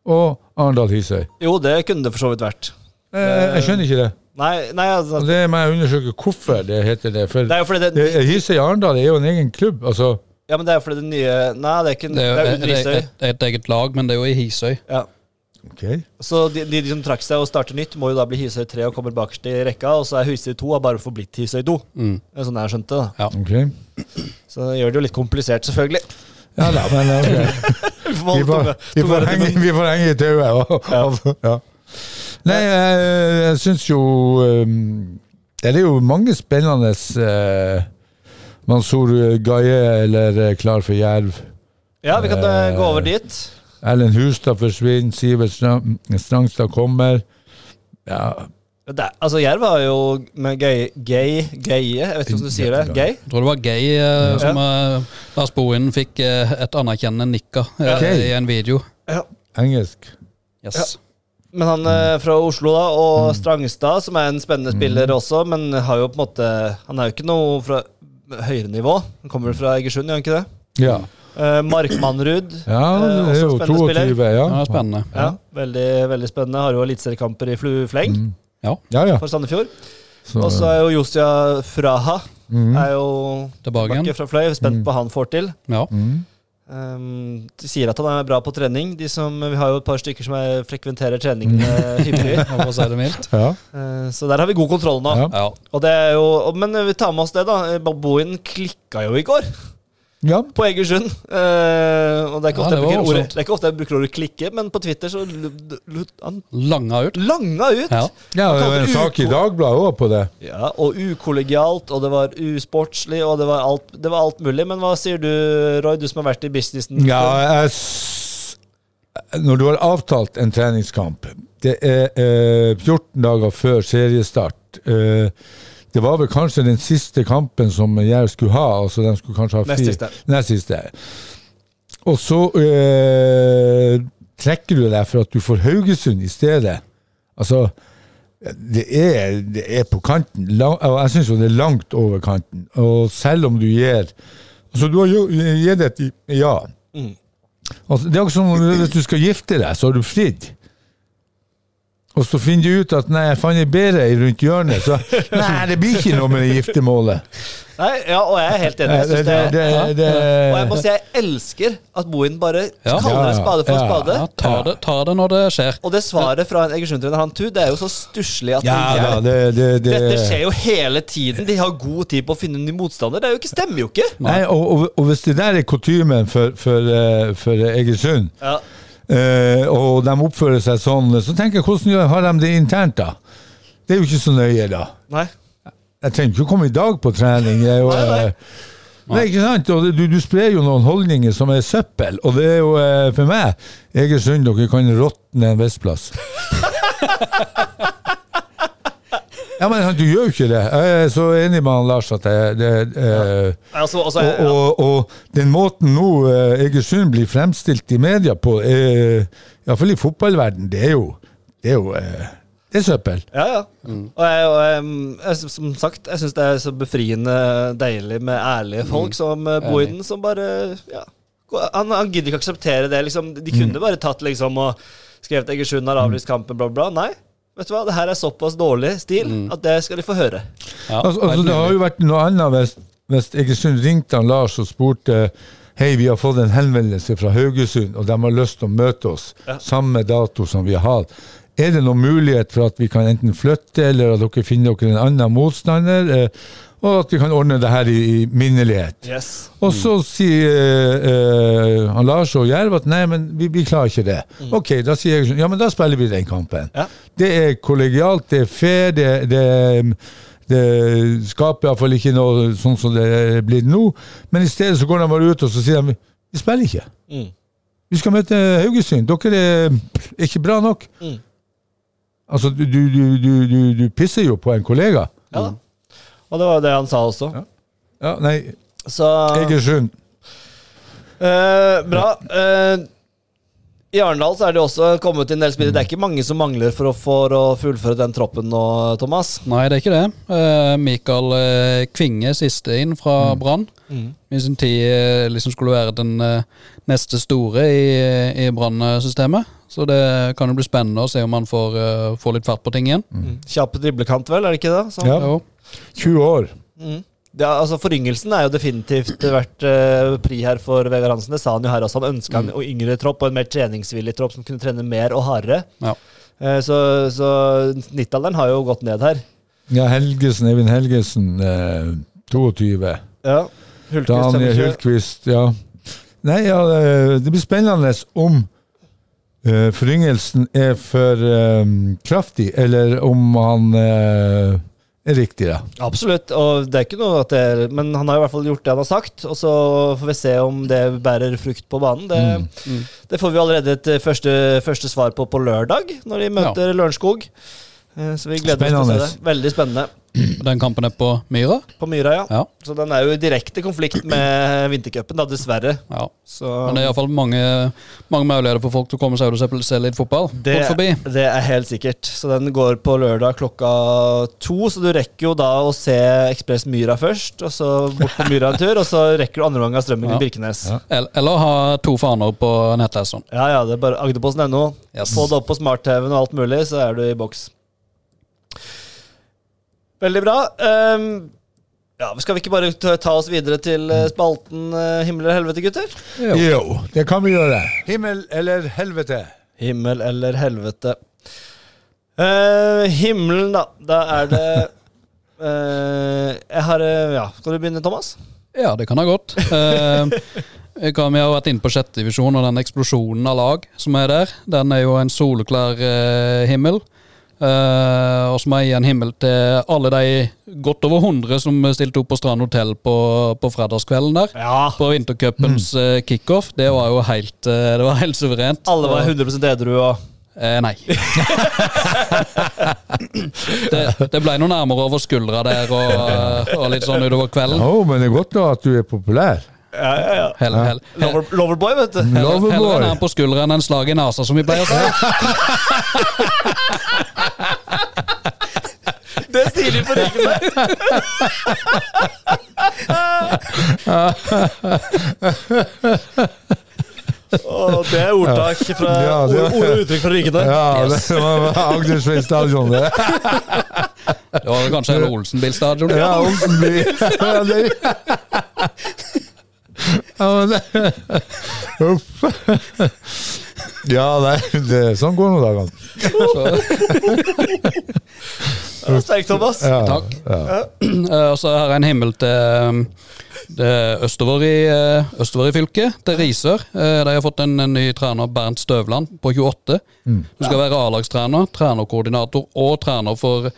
S3: Og Arendal-Hisøy?
S5: Jo, det kunne det for så vidt vært.
S3: Jeg, jeg skjønner ikke det.
S5: Nei, nei altså,
S3: Og det må jeg undersøke hvorfor det heter det. For
S5: det er jo fordi det,
S3: Eh, Hisøy Arendal er jo en egen klubb. Altså,
S5: ja, men det er jo fordi det nye Nei, det er ikke
S6: Det er jo det er
S5: Undervisøy.
S6: et, det er et eget lag, men det er jo i Hisøy.
S5: Ja.
S3: ok.
S5: Så de, de, de som trakk seg og starter nytt, må jo da bli Hisøy 3 og kommer bakerst i rekka. Og så er Hisøy 2 har bare forblitt Hisøy 2. Det er Sånn jeg skjønte det.
S3: ok.
S5: da. Så det gjør det jo litt komplisert, selvfølgelig.
S3: Ja da, men [LAUGHS] ok.
S5: Vi
S3: Vi
S5: får holde
S3: får,
S5: tunga-
S3: vi
S5: tunga
S3: får,
S5: rett i
S3: henge,
S5: munnen.
S3: vi får henge i tauet. og- og- Ja. Nei, jeg, jeg syns jo um, Det er jo mange spennende eh, Mansour Gaye eller eh, Klar for Jerv.
S5: Ja, vi kan eh, gå over dit.
S3: Erlend Hustad forsvinner, Sivert Strang- Strangstad kommer. Ja,
S5: Det, er- altså, Jerv har jo med gøy, gøy, gøye Jeg vet ikke om du sier det. Gøy?
S6: Jeg tror det var Gay eh, som eh, Lars Bohin fikk eh, et anerkjennende nikka eh,
S3: Ok.
S6: i en video.
S5: Ja.
S3: engelsk.
S6: Yes.
S5: Men han eh, fra Oslo da, og Strangstad, som er en spennende spiller også, men har jo på en måte Han er jo ikke noe fra høyere nivå. Han kommer vel fra Egersund, gjør han ikke det?
S3: Ja,
S5: Eh, Markmannrud.
S3: ja
S5: eh,
S3: det er
S5: også
S3: jo
S5: spennende
S3: 22.
S5: spiller.
S6: Det
S3: Ja,
S6: var spennende.
S5: Ja, veldig, veldig spennende. Har jo eliteseriekamper i flu- fleng
S3: ja. ja.
S5: for Sandefjord.
S3: Så, Mm.
S5: Og så er jo Josia Fraha er jo
S6: Tilbake
S5: tilbake
S6: igjen.
S5: fra Fløy. Spent på hva han får til.
S6: Ja.
S3: mm.
S5: Um, de sier at han er bra på trening. De som, vi har jo et par stykker som er, frekventerer
S3: [LAUGHS]
S5: trening eh, hyppig.
S6: For å si det mildt.
S3: ja.
S5: Eh, så der har vi god kontroll nå.
S3: Ja.
S6: Ja.
S5: Og det er jo, og- men vi tar med oss det, da. Baboin klikka jo i går
S3: ja.
S5: på Egersund. Eh, og det er, ikke
S6: Ja,
S5: ofte
S6: det var
S5: jeg bruker ordet,
S6: voldsomt.
S5: det er ikke ofte jeg bruker ordet 'klikke', men på Twitter så l- l- han
S6: Langa ut.
S5: langa ut.
S6: Ja.
S3: Ja, det
S5: Han
S3: var
S5: kalte
S3: en sak i
S5: uko-
S3: Dagbladet òg på det.
S5: Ja, og ukollegialt, og det var usportslig, og det var alt, det var alt mulig. Men hva sier du, Roy, du som har vært i businessen?
S3: Ja, jeg s Når du har avtalt en treningskamp Det er eh, 14 dager før seriestart. Eh, det var vel kanskje den siste kampen som Jerv skulle ha. altså de skulle kanskje ha
S5: Nest
S3: fire-
S5: siste.
S3: Nest siste. Og så eh, trekker du deg for at du får Haugesund i stedet. Altså, det er, det er på kanten. Lang, og jeg syns jo det er langt over kanten. Og selv om du gir Altså, du har jo gitt et ja.
S5: Mm.
S3: Altså, det er ikke som om hvis du skal gifte deg, så har du fridd. Og så finner du ut at nei, jeg fant ei bedre i rundt hjørnet,
S5: [LAUGHS]
S3: så nei, det blir ikke noe med det giftermålet.
S5: Nei, ja, og jeg er helt enig.
S3: Det,
S5: Jeg
S3: det,
S5: synes
S3: det,
S5: det,
S3: det,
S5: og jeg må si jeg elsker at Bohin bare
S6: Ja.
S5: kaller en spade for en
S3: Ja, ja.
S5: spade.
S6: Ja, tar, det, tar det når det skjer.
S5: Og det svaret fra en Egersund-trener, han Tud, det er jo så stusslig at
S3: ja, da, det, det, det,
S5: Dette skjer jo hele tiden. De har god tid på å finne en ny motstander. Det er jo ikke, stemmer jo ikke!
S3: Nei, og, og, og hvis det der er kutymen for, for, eh, for Egersund,
S5: Ja.
S3: eh, og de oppfører seg sånn, så tenker jeg hvordan gjør- har de det internt, da? Det er jo ikke så nøye, da.
S5: Nei.
S3: Jeg trenger ikke å komme i dag på trening. Jeg, er jo,
S5: Nei, nei.
S3: eh, Nei, ikke sant? Og det- du, du sprer jo noen holdninger som er søppel, og det er jo eh, for meg Egersund, dere kan råtne en viss plass. ja, men han- du gjør jo ikke det. Jeg er så enig med han Lars at det, det eh,
S5: Altså, altså,
S3: og,
S5: ja.
S3: og, og den måten nå eh, Egersund blir fremstilt i media på, eh, iallfall i fotballverden, det er jo Det er jo eh, det er søppel.
S5: Ja, ja. Og, jeg, og jeg, mm, jeg, syns- som sagt, jeg syns det er så befriende deilig med ærlige folk som eh, Boiden, som bare ja. Gå- Han, han gidder ikke akseptere det. liksom. De kunne bare tatt liksom og skrevet Egersund har avlyst kampen, bla, bla. Nei. Vet du hva, det her er såpass dårlig stil at det skal de få høre.
S6: Ja,
S3: Altså, altså,
S6: helt
S3: det har
S6: mulig.
S3: jo vært noe annet hvis, hvis Egersund ringte han Lars og spurte Hei, vi har fått en henvendelse fra Haugesund, og de har lyst til å møte oss samme dato som vi har. Er det noen mulighet for at vi kan enten flytte, eller at dere finner dere en annen motstander, eh, og at vi kan ordne det her i, i minnelighet?
S5: Yes.
S3: Og så sier eh, han Lars og Jerv at nei, men vi, vi klarer ikke det. Ok, da sier jeg ja, men da spiller vi den kampen.
S5: Ja.
S3: Det er kollegialt, det er fair, det, det, det skaper iallfall ikke noe sånn som det blir nå. Men i stedet så går de bare ut og så sier de, vi spiller ikke. Vi skal møte Haugesund. Dere er ikke bra nok.
S5: Mm.
S3: Altså, du, du, du, du, du pisser jo på en kollega.
S5: Ja da. Og det var jo det han sa også.
S3: Ja. Ja, nei,
S5: Så
S3: Egersund.
S5: eh, bra. Eh, I Arendal så er det også kommet inn en del spillere. Det er ikke mange som mangler for å, for å fullføre den troppen nå, Thomas.
S6: Nei, det er ikke det. Eh, Mikael eh, Kvinge, siste inn fra Brann. I sin tid eh, liksom skulle være den eh, neste store i, i Brann-systemet. Så det kan jo bli spennende å se om han får, eh, får litt fart på ting igjen.
S5: Kjapp driblekant, vel? Er det ikke det? Sånn.
S3: Ja.
S6: Jo.
S3: 20 år.
S5: Mm. Det er- altså Foryngelsen er jo definitivt vært eh, pri her for Vegard Hansen. Det sa han jo her også. Han ønska en yngre tropp og en mer treningsvillig tropp som kunne trene mer og hardere.
S6: Ja.
S5: Eh, så så nittalderen har jo gått ned her.
S3: Ja, Helgesen, Eivind Helgesen, eh, 22.
S5: Ja. Hultqvist
S3: Daniel
S5: 25.
S3: Hultqvist, ja. Nei, ja, eh, det- det blir spennende om eh, foryngelsen er for eh, kraftig, eller om han eh, er riktig, da.
S5: Absolutt. og det er ikke noe at det er, Men han har jo i hvert fall gjort det han har sagt, og så får vi se om det bærer frukt på banen. Det, det får vi allerede et eh, første, første svar på på lørdag, når de møter Lørenskog. Eh, Så vi gleder oss til å se det. Veldig spennende.
S6: Den kampen er på Myra.
S5: På Myra, ja.
S6: Ja.
S5: Så den er jo i direkte konflikt med vintercupen, da, dessverre.
S6: ja.
S5: Så
S6: Men det er iallfall mange, mange muligheter for folk til å komme seg ut og se- se litt fotball.
S5: det,
S6: Folk forbi.
S5: det er helt sikkert. Så den går på lørdag klokka to, så du rekker jo da å se Ekspress Myra først, og så bort på Myra en tur, og så rekker du andre omgang av strømmen
S6: Ja.
S5: i Birkenes.
S3: Ja.
S6: Eller, eller ha to faner på nettleseren.
S5: Ja, ja, det er bare agderposten.no.
S6: Yes.
S5: Få det opp på smart-TV-en og alt mulig, så er du i boks. Veldig bra. Ehm, ja, skal vi ikke bare ta ta oss videre til eh, spalten eh, Himmel eller helvete, gutter?
S6: Jo.
S3: Jo, det kan vi gjøre. Himmel eller helvete?
S5: Himmel eller helvete. Eh, himmelen, da. Da er det [LAUGHS] eh, Jeg har eh, Ja, skal du begynne, Thomas?
S6: Ja, det kan ha gått. Eh, jeg kan- vi har vært inne på sjette divisjon, og den eksplosjonen av lag som er der, den er jo en soleklar eh, himmel. Eh, og som er en himmel til alle de godt over 100 som stilte opp på Strand hotell på, på fredagskvelden der.
S5: Ja. Mm.
S6: På vintercupens eh, kickoff. Det var jo helt, eh, det var helt suverent.
S5: Alle var
S6: Og-
S5: 100 edru og
S6: Eh, nei. [LAUGHS] det, det ble noe nærmere over skuldra der og, og litt sånn utover
S3: Å,
S6: kvelden.
S3: men det er godt da at du er populær.
S5: ja, ja, ja.
S6: Hell, hell,
S5: Lover, Loverboy, vet [LAUGHS] du.
S6: Heller, heller en
S3: Loverboy.
S6: arm på skuldra enn en slag i nesa, som vi pleier å si.
S5: Det sier de på ryggene. Å, det er ordtak fra
S3: Ja, det-
S5: ord, ord og uttrykk fra ryggene.
S3: Ja, det var Agdersveig stadion, det.
S6: Det var vel kanskje hele Olsenbilstadion. [LAUGHS]
S3: Ja, Olsenby. Ja, det- Ja, men det Uff. Ja, nei, det, sånn går nå dagene.
S5: Det var Sterkt, Thomas.
S3: Ja,
S6: Takk.
S3: Ja.
S6: Eh, Og så har jeg en himmel til um, det østover, i, eh, østover i fylket, til Risør. Eh, De har fått en, en ny trener, Bernt Støvland, på 28. Hun skal være A-lagstrener, trenerkoordinator og trener for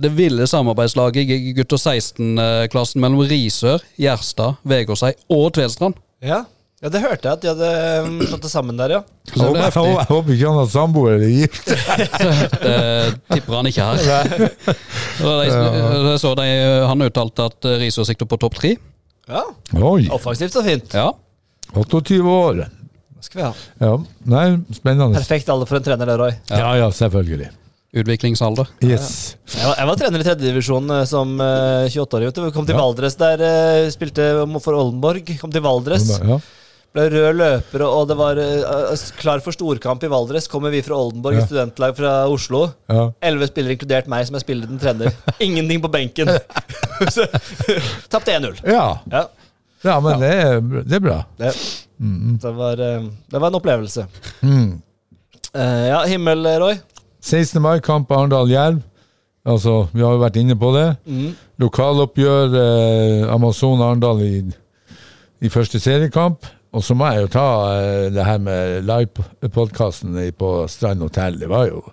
S6: det ville samarbeidslaget i gutter 16-klassen mellom Risør, Gjerstad, Vegårshei og Tvedestrand.
S5: Ja. ja, det hørte jeg at de hadde um, slått det sammen der, ja.
S3: Jeg
S6: Så
S3: håper,
S6: det er
S3: jeg
S6: heftig.
S3: håper, jeg håper ikke han har samboer eller gift.
S6: Det tipper han ikke her. Og de, jeg så de, han uttalte at Risør sikter på topp tre.
S5: ja.
S3: Oi,
S5: Offensivt og fint.
S6: Ja.
S3: 28 år.
S5: Hva skal vi ha?
S3: Ja, nei, spennende.
S5: Perfekt alder for en trener, det, Roy.
S3: Ja, ja, selvfølgelig.
S6: Utviklingsalder.
S3: Yes.
S5: Jeg var, jeg var trener i tredjedivisjon som eh, 28-åring. vet du. Kom til Valdres der, eh, spilte for Oldenborg. Kom til Valdres.
S3: Ja.
S5: Ble rød løper, og det var eh, klar for storkamp i Valdres. Kommer vi fra Oldenborg,
S3: Ja.
S5: studentlag fra Oslo.
S3: Ja.
S5: Elleve spillere, inkludert meg, som er spiller
S3: [LAUGHS]
S5: den trener. Ingenting på benken. Så, Tapte 1-0.
S3: Ja.
S5: Ja,
S3: ja, men det er, det er bra.
S5: det, det, var, eh, det var en opplevelse. Eh, ja, himmel, Roy.
S3: 16. mai, kamp Arendal-Jerv. Altså, vi har jo vært inne på det. Lokaloppgjør eh, Amazon-Arendal i, i første seriekamp. Og så må jeg jo ta eh, det her med livepodkasten på Strand hotell. Det var jo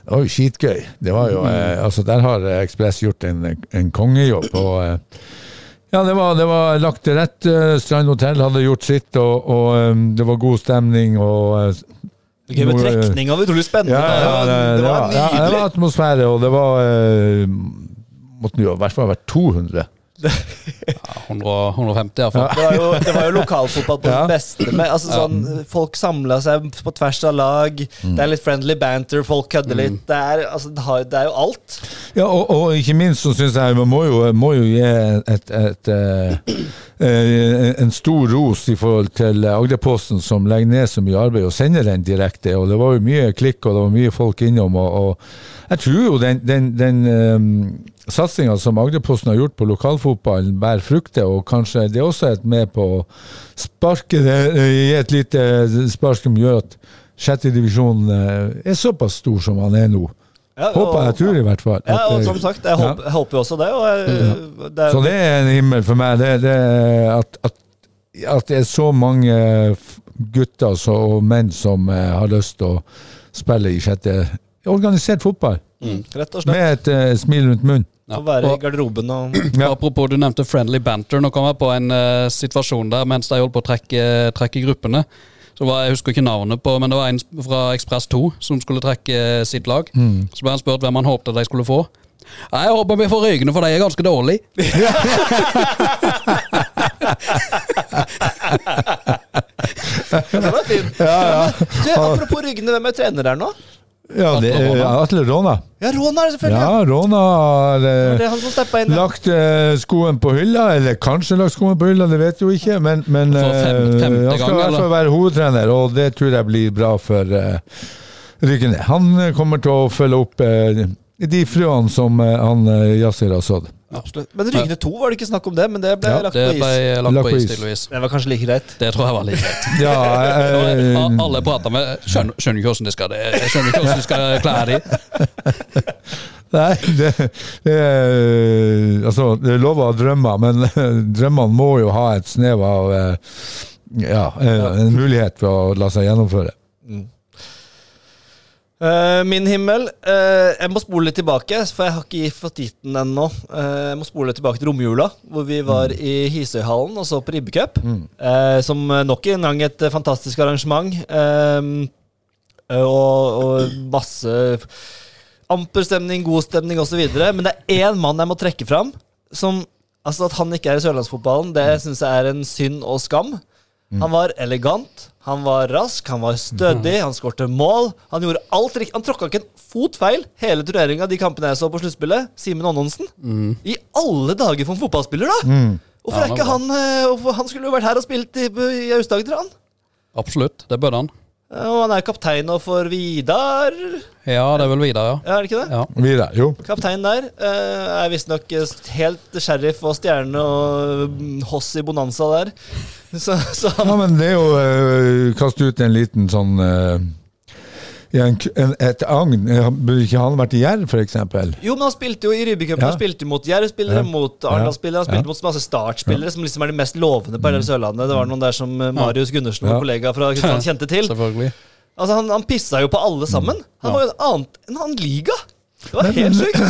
S3: det var jo skitgøy. Det var jo, eh, altså Der har eh, Ekspress gjort en, en kongejobb. Og eh, Ja, det var, det var lagt til rette. Strand hotell hadde gjort sitt, og, og eh, det var god stemning. og... eh,
S5: Det er Gøy med
S3: Noe-
S5: trekning og utrolig spennende.
S3: eh, Ja, ja, ja, det,
S5: det,
S3: det, var,
S5: var
S3: ja, det
S5: nydelig.
S3: var atmosfære, og det var eh, Måtte jo i hvert fall ha vært 200.
S6: 100, 150 iallfall.
S5: Det var, jo, det var jo lokalfotball på
S3: [LAUGHS] Ja.
S5: det beste. Men, altså, sånn, folk samla seg på tvers av lag. Det
S3: Mm.
S5: er litt friendly banter, folk kødder litt. Det er, altså, det har- det er jo alt.
S3: Ja, og, og ikke minst så syns jeg man må jo, må jo gi et, et, eh, eh, en stor ros i forhold til Agderposten, som legger ned så mye arbeid og sender den direkte. og Det var jo mye klikk og det var mye folk innom. og, og Jeg tror jo den, den, den satsinga som Agderposten har gjort på lokalfotballen, bærer frukter. og Kanskje det også er et med på å sparke det, eh, gi et lite spark som gjør at sjette divisjon eh, er såpass stor som han er nå.
S5: Ja,
S3: Håper jeg, tror i hvert fall.
S5: Ja,
S3: at,
S5: og
S3: eh,
S5: som sagt, jeg
S3: ja. Mm,
S5: håper, jeg håper jo også det. Og jeg, det er,
S3: Så det er en himmel for meg. Det, det, er at, at, at det er så mange f- gutter så, og menn som eh, har lyst til å spille i sjette Organisert fotball,
S5: rett og slett.
S3: med et eh, smil rundt munnen.
S5: Å være i garderoben
S3: [CLEARS THROAT]
S5: og
S3: Ja.
S6: Apropos, du nevnte friendly banter. Nå kom jeg på en eh, situasjon der mens de holdt på å trekke, trekke gruppene. Så var, Jeg husker ikke navnet på, men det var en sp- fra Ekspress 2 som skulle trekke eh, sitt lag. Så ble han spurt hvem han håpte de skulle få. «Nei, Jeg håper vi får Rygene, for de er ganske dårlige.
S5: Ja, Den er fin. [LAUGHS] Du, apropos ryggene, hvem er trener der nå?
S3: Ja, det,
S6: Atle Råna.
S3: ja, Atle Råna.
S5: Ja, Rånar, selvfølgelig.
S3: Ja, Råna har eh,
S5: Det er han som steppa inn. ja.
S3: lagt eh, skoen på hylla, eller kanskje lagt skoen på hylla, det vet jo ikke, men, men
S6: For fem-
S3: eh,
S6: femte
S3: han skal
S6: gang,
S3: i hvert fall være hovedtrener, og det tror jeg blir bra for uh, Ryggen. Han eh, kommer til å følge opp eh, de frøene som eh, han eh, Yasir har sådd.
S5: Absolutt. Men Rygne 2 var det ikke snakk om det, men det ble
S3: Ja,
S5: lagt
S6: Det
S5: på is.
S6: ble lagt på is, tydeligvis.
S5: Det var kanskje like greit.
S6: Det tror jeg var litt greit.
S3: Ja,
S6: [LAUGHS]
S3: eh,
S6: A- Alle prater med Skjønner, skjønner ikke hvordan de skal, jeg skjønner ikke hvordan de skal klare de.
S3: nei, det, det er- Altså, det er lov å ha drømmer, men eh, drømmene må jo ha et snev av eh, ja, eh, en mulighet for å la seg gjennomføre.
S5: Eh, min himmel eh, Jeg må spole litt tilbake, for jeg har ikke fått gitt den ennå. Eh, jeg må spole tilbake til romjula, hvor vi var i Hisøyhallen og så på Ribbecup. eh, som nok en gang et eh, fantastisk arrangement. eh, og, og masse amper stemning, god stemning osv. Men det er én mann jeg må trekke fram. Som, altså at han ikke er i sørlandsfotballen, det syns jeg er en synd og skam. Han var elegant, han var rask, han var stødig, han skårte mål. Han gjorde alt riktig. Han tråkka ikke en fot feil hele turneringa de kampene jeg så på sluttspillet. Simen Annonsen. I alle dager for en fotballspiller, da! Hvorfor
S6: Ja,
S5: er
S6: han
S5: ikke
S6: var
S5: Mm. han eh, hvorfor, Han skulle jo vært her og spilt i, i Aust-Agder, han.
S6: Absolutt, det burde han.
S5: Eh, Og han er kaptein nå for Vidar,
S6: Ja, det er vel Vidar, ja.
S5: Ja, er det ikke det?
S6: ja.
S3: Vidar, jo.
S5: Kaptein der eh, er visstnok eh, helt sheriff og stjerne og mm, hoss i bonanza der. [LAUGHS] Så, så han
S3: Ja, men det er jo øh, Kaste ut en liten sånn øh, i en, k- en, Et agn. Eh, Burde ikke han vært i Jerv, f.eks.?
S5: Jo, men han spilte jo i Rybycupen.
S3: Ja.
S5: Han spilte mot Jerv-spillere,
S3: Ja.
S5: mot Arendal-spillere, han
S3: Ja. Mm.
S5: spilte mot masse Start-spillere, som liksom er de mest lovende på hele Sørlandet. Det var noen der som eh, Marius Gundersen, vår
S3: Ja.
S5: kollega fra Kristiansand, kjente
S3: [LAUGHS]
S5: til.
S6: Selvfølgelig.
S5: Altså, han, han pissa jo på
S3: Mm.
S5: alle sammen. Han
S6: Ja.
S5: var jo en annen, en annen liga! Det var helt sykt.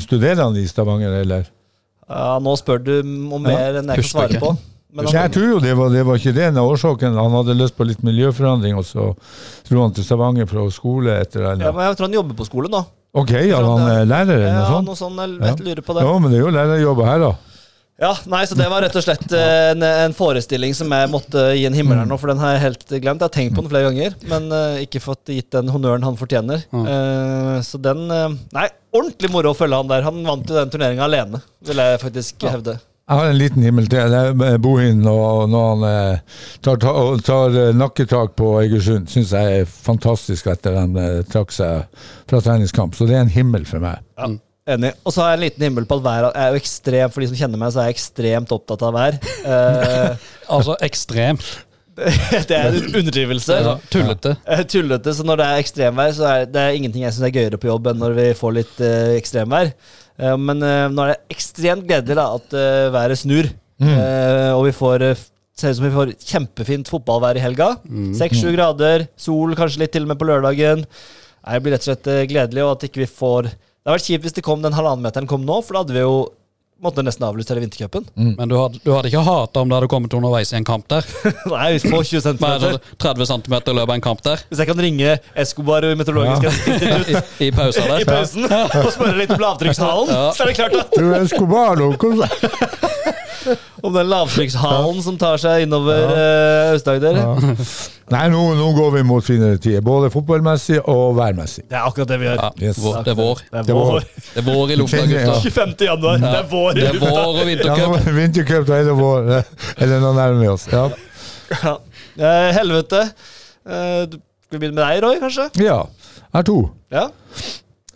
S3: [CLEARS THROAT] Studerer han i Stavanger, eller?
S5: Ja, nå spør du om mer enn jeg kan
S6: Husker
S5: svare
S6: ikke.
S5: på. Men
S3: Nei, jeg
S5: han,
S3: tror jo det var, det var ikke det en av årsaken. Han hadde lyst på litt miljøforandring, og så dro han til Stavanger for å skole etter det.
S5: ja, men jeg tror han jobber på skole nå.
S3: Ok, ja, han er lærer eller
S5: Ja,
S3: noe sånt?
S5: noe sånt, jeg
S3: Ja.
S5: vet, lurer på det.
S3: Jo, men det er jo lærerjobber her, da.
S5: Ja, nei, så Det var rett og slett eh, en, en forestilling som jeg måtte gi en himmel her nå, for den har jeg helt glemt. Jeg har tenkt på den flere ganger, men eh, ikke fått gitt den honnøren han fortjener. Eh, så den eh, Nei, ordentlig moro å følge han der. Han vant jo den turneringa alene, vil jeg faktisk hevde.
S3: Jeg har en liten himmel til. Det er eh, Bohin og når han eh, tar, ta- og tar eh, nakketak på Egersund. Syns jeg er fantastisk etter han eh, trakk seg fra treningskamp. Så det er en himmel for meg.
S5: Ja, Enig. Og så har jeg en liten himmel på at vær jeg er jo ekstrem, For de som kjenner meg, så er jeg ekstremt opptatt av vær. Eh, [LAUGHS]
S6: Altså ekstremt.
S5: det er en underdrivelse.
S6: Altså, tullete.
S5: Eh, tullete, så når det er ekstremvær, så er det er ingenting jeg syns er gøyere på jobb enn når vi får litt eh, ekstremvær. Eh, men eh, nå er det ekstremt gledelig da, at eh, været snur, Eh, og vi får eh, Ser ut som vi får kjempefint fotballvær i helga. Seks-sju grader, sol kanskje litt til og med på lørdagen. Nei, Det blir rett og slett eh, gledelig. og at ikke vi får... Det hadde vært kjipt hvis det kom den halvannen meteren kom nå, for da hadde vi jo måtte nesten avlyst hele vintercupen.
S3: Mm.
S6: Men du hadde, du hadde ikke hata om det hadde kommet underveis i en kamp der?
S5: [LAUGHS] Nei, vi får 20
S6: Med
S5: centimeter.
S6: 30 cm i løpet av en kamp der?
S5: Hvis jeg kan ringe Escobar og Meteorologisk institutt
S6: I, i pausa
S5: i
S6: der?
S5: pausen [LAUGHS] og spørre litt om lavtrykkshallen, så er det klart at
S3: Du er Escobar, og kom seg.
S5: Om den lavtrykkshallen som tar seg innover eh, Aust-Agder.
S3: [LAUGHS] Nei, nå, nå går vi mot finere tider, både fotballmessig og værmessig.
S5: Det er akkurat det vi gjør.
S6: Ja,
S3: Yes.
S6: vår, det er vår.
S5: Det
S3: Det
S5: er
S3: er
S5: vår. [LAUGHS]
S6: Det er vår i lufta,
S3: Kjenner jeg, ja.
S6: gutter.
S5: 25. januar. Det er vår.
S6: Det er vår og
S3: Ja,
S6: vintercup.
S3: nå er det [LAUGHS] vintercup, da er det vår. eh, Eller nå nærmer vi oss. Ja.
S5: Ja. [LAUGHS] Eh, helvete. Eh, du- skal vi begynne med deg, Roy, kanskje?
S3: ja. Jeg tror
S5: Ja.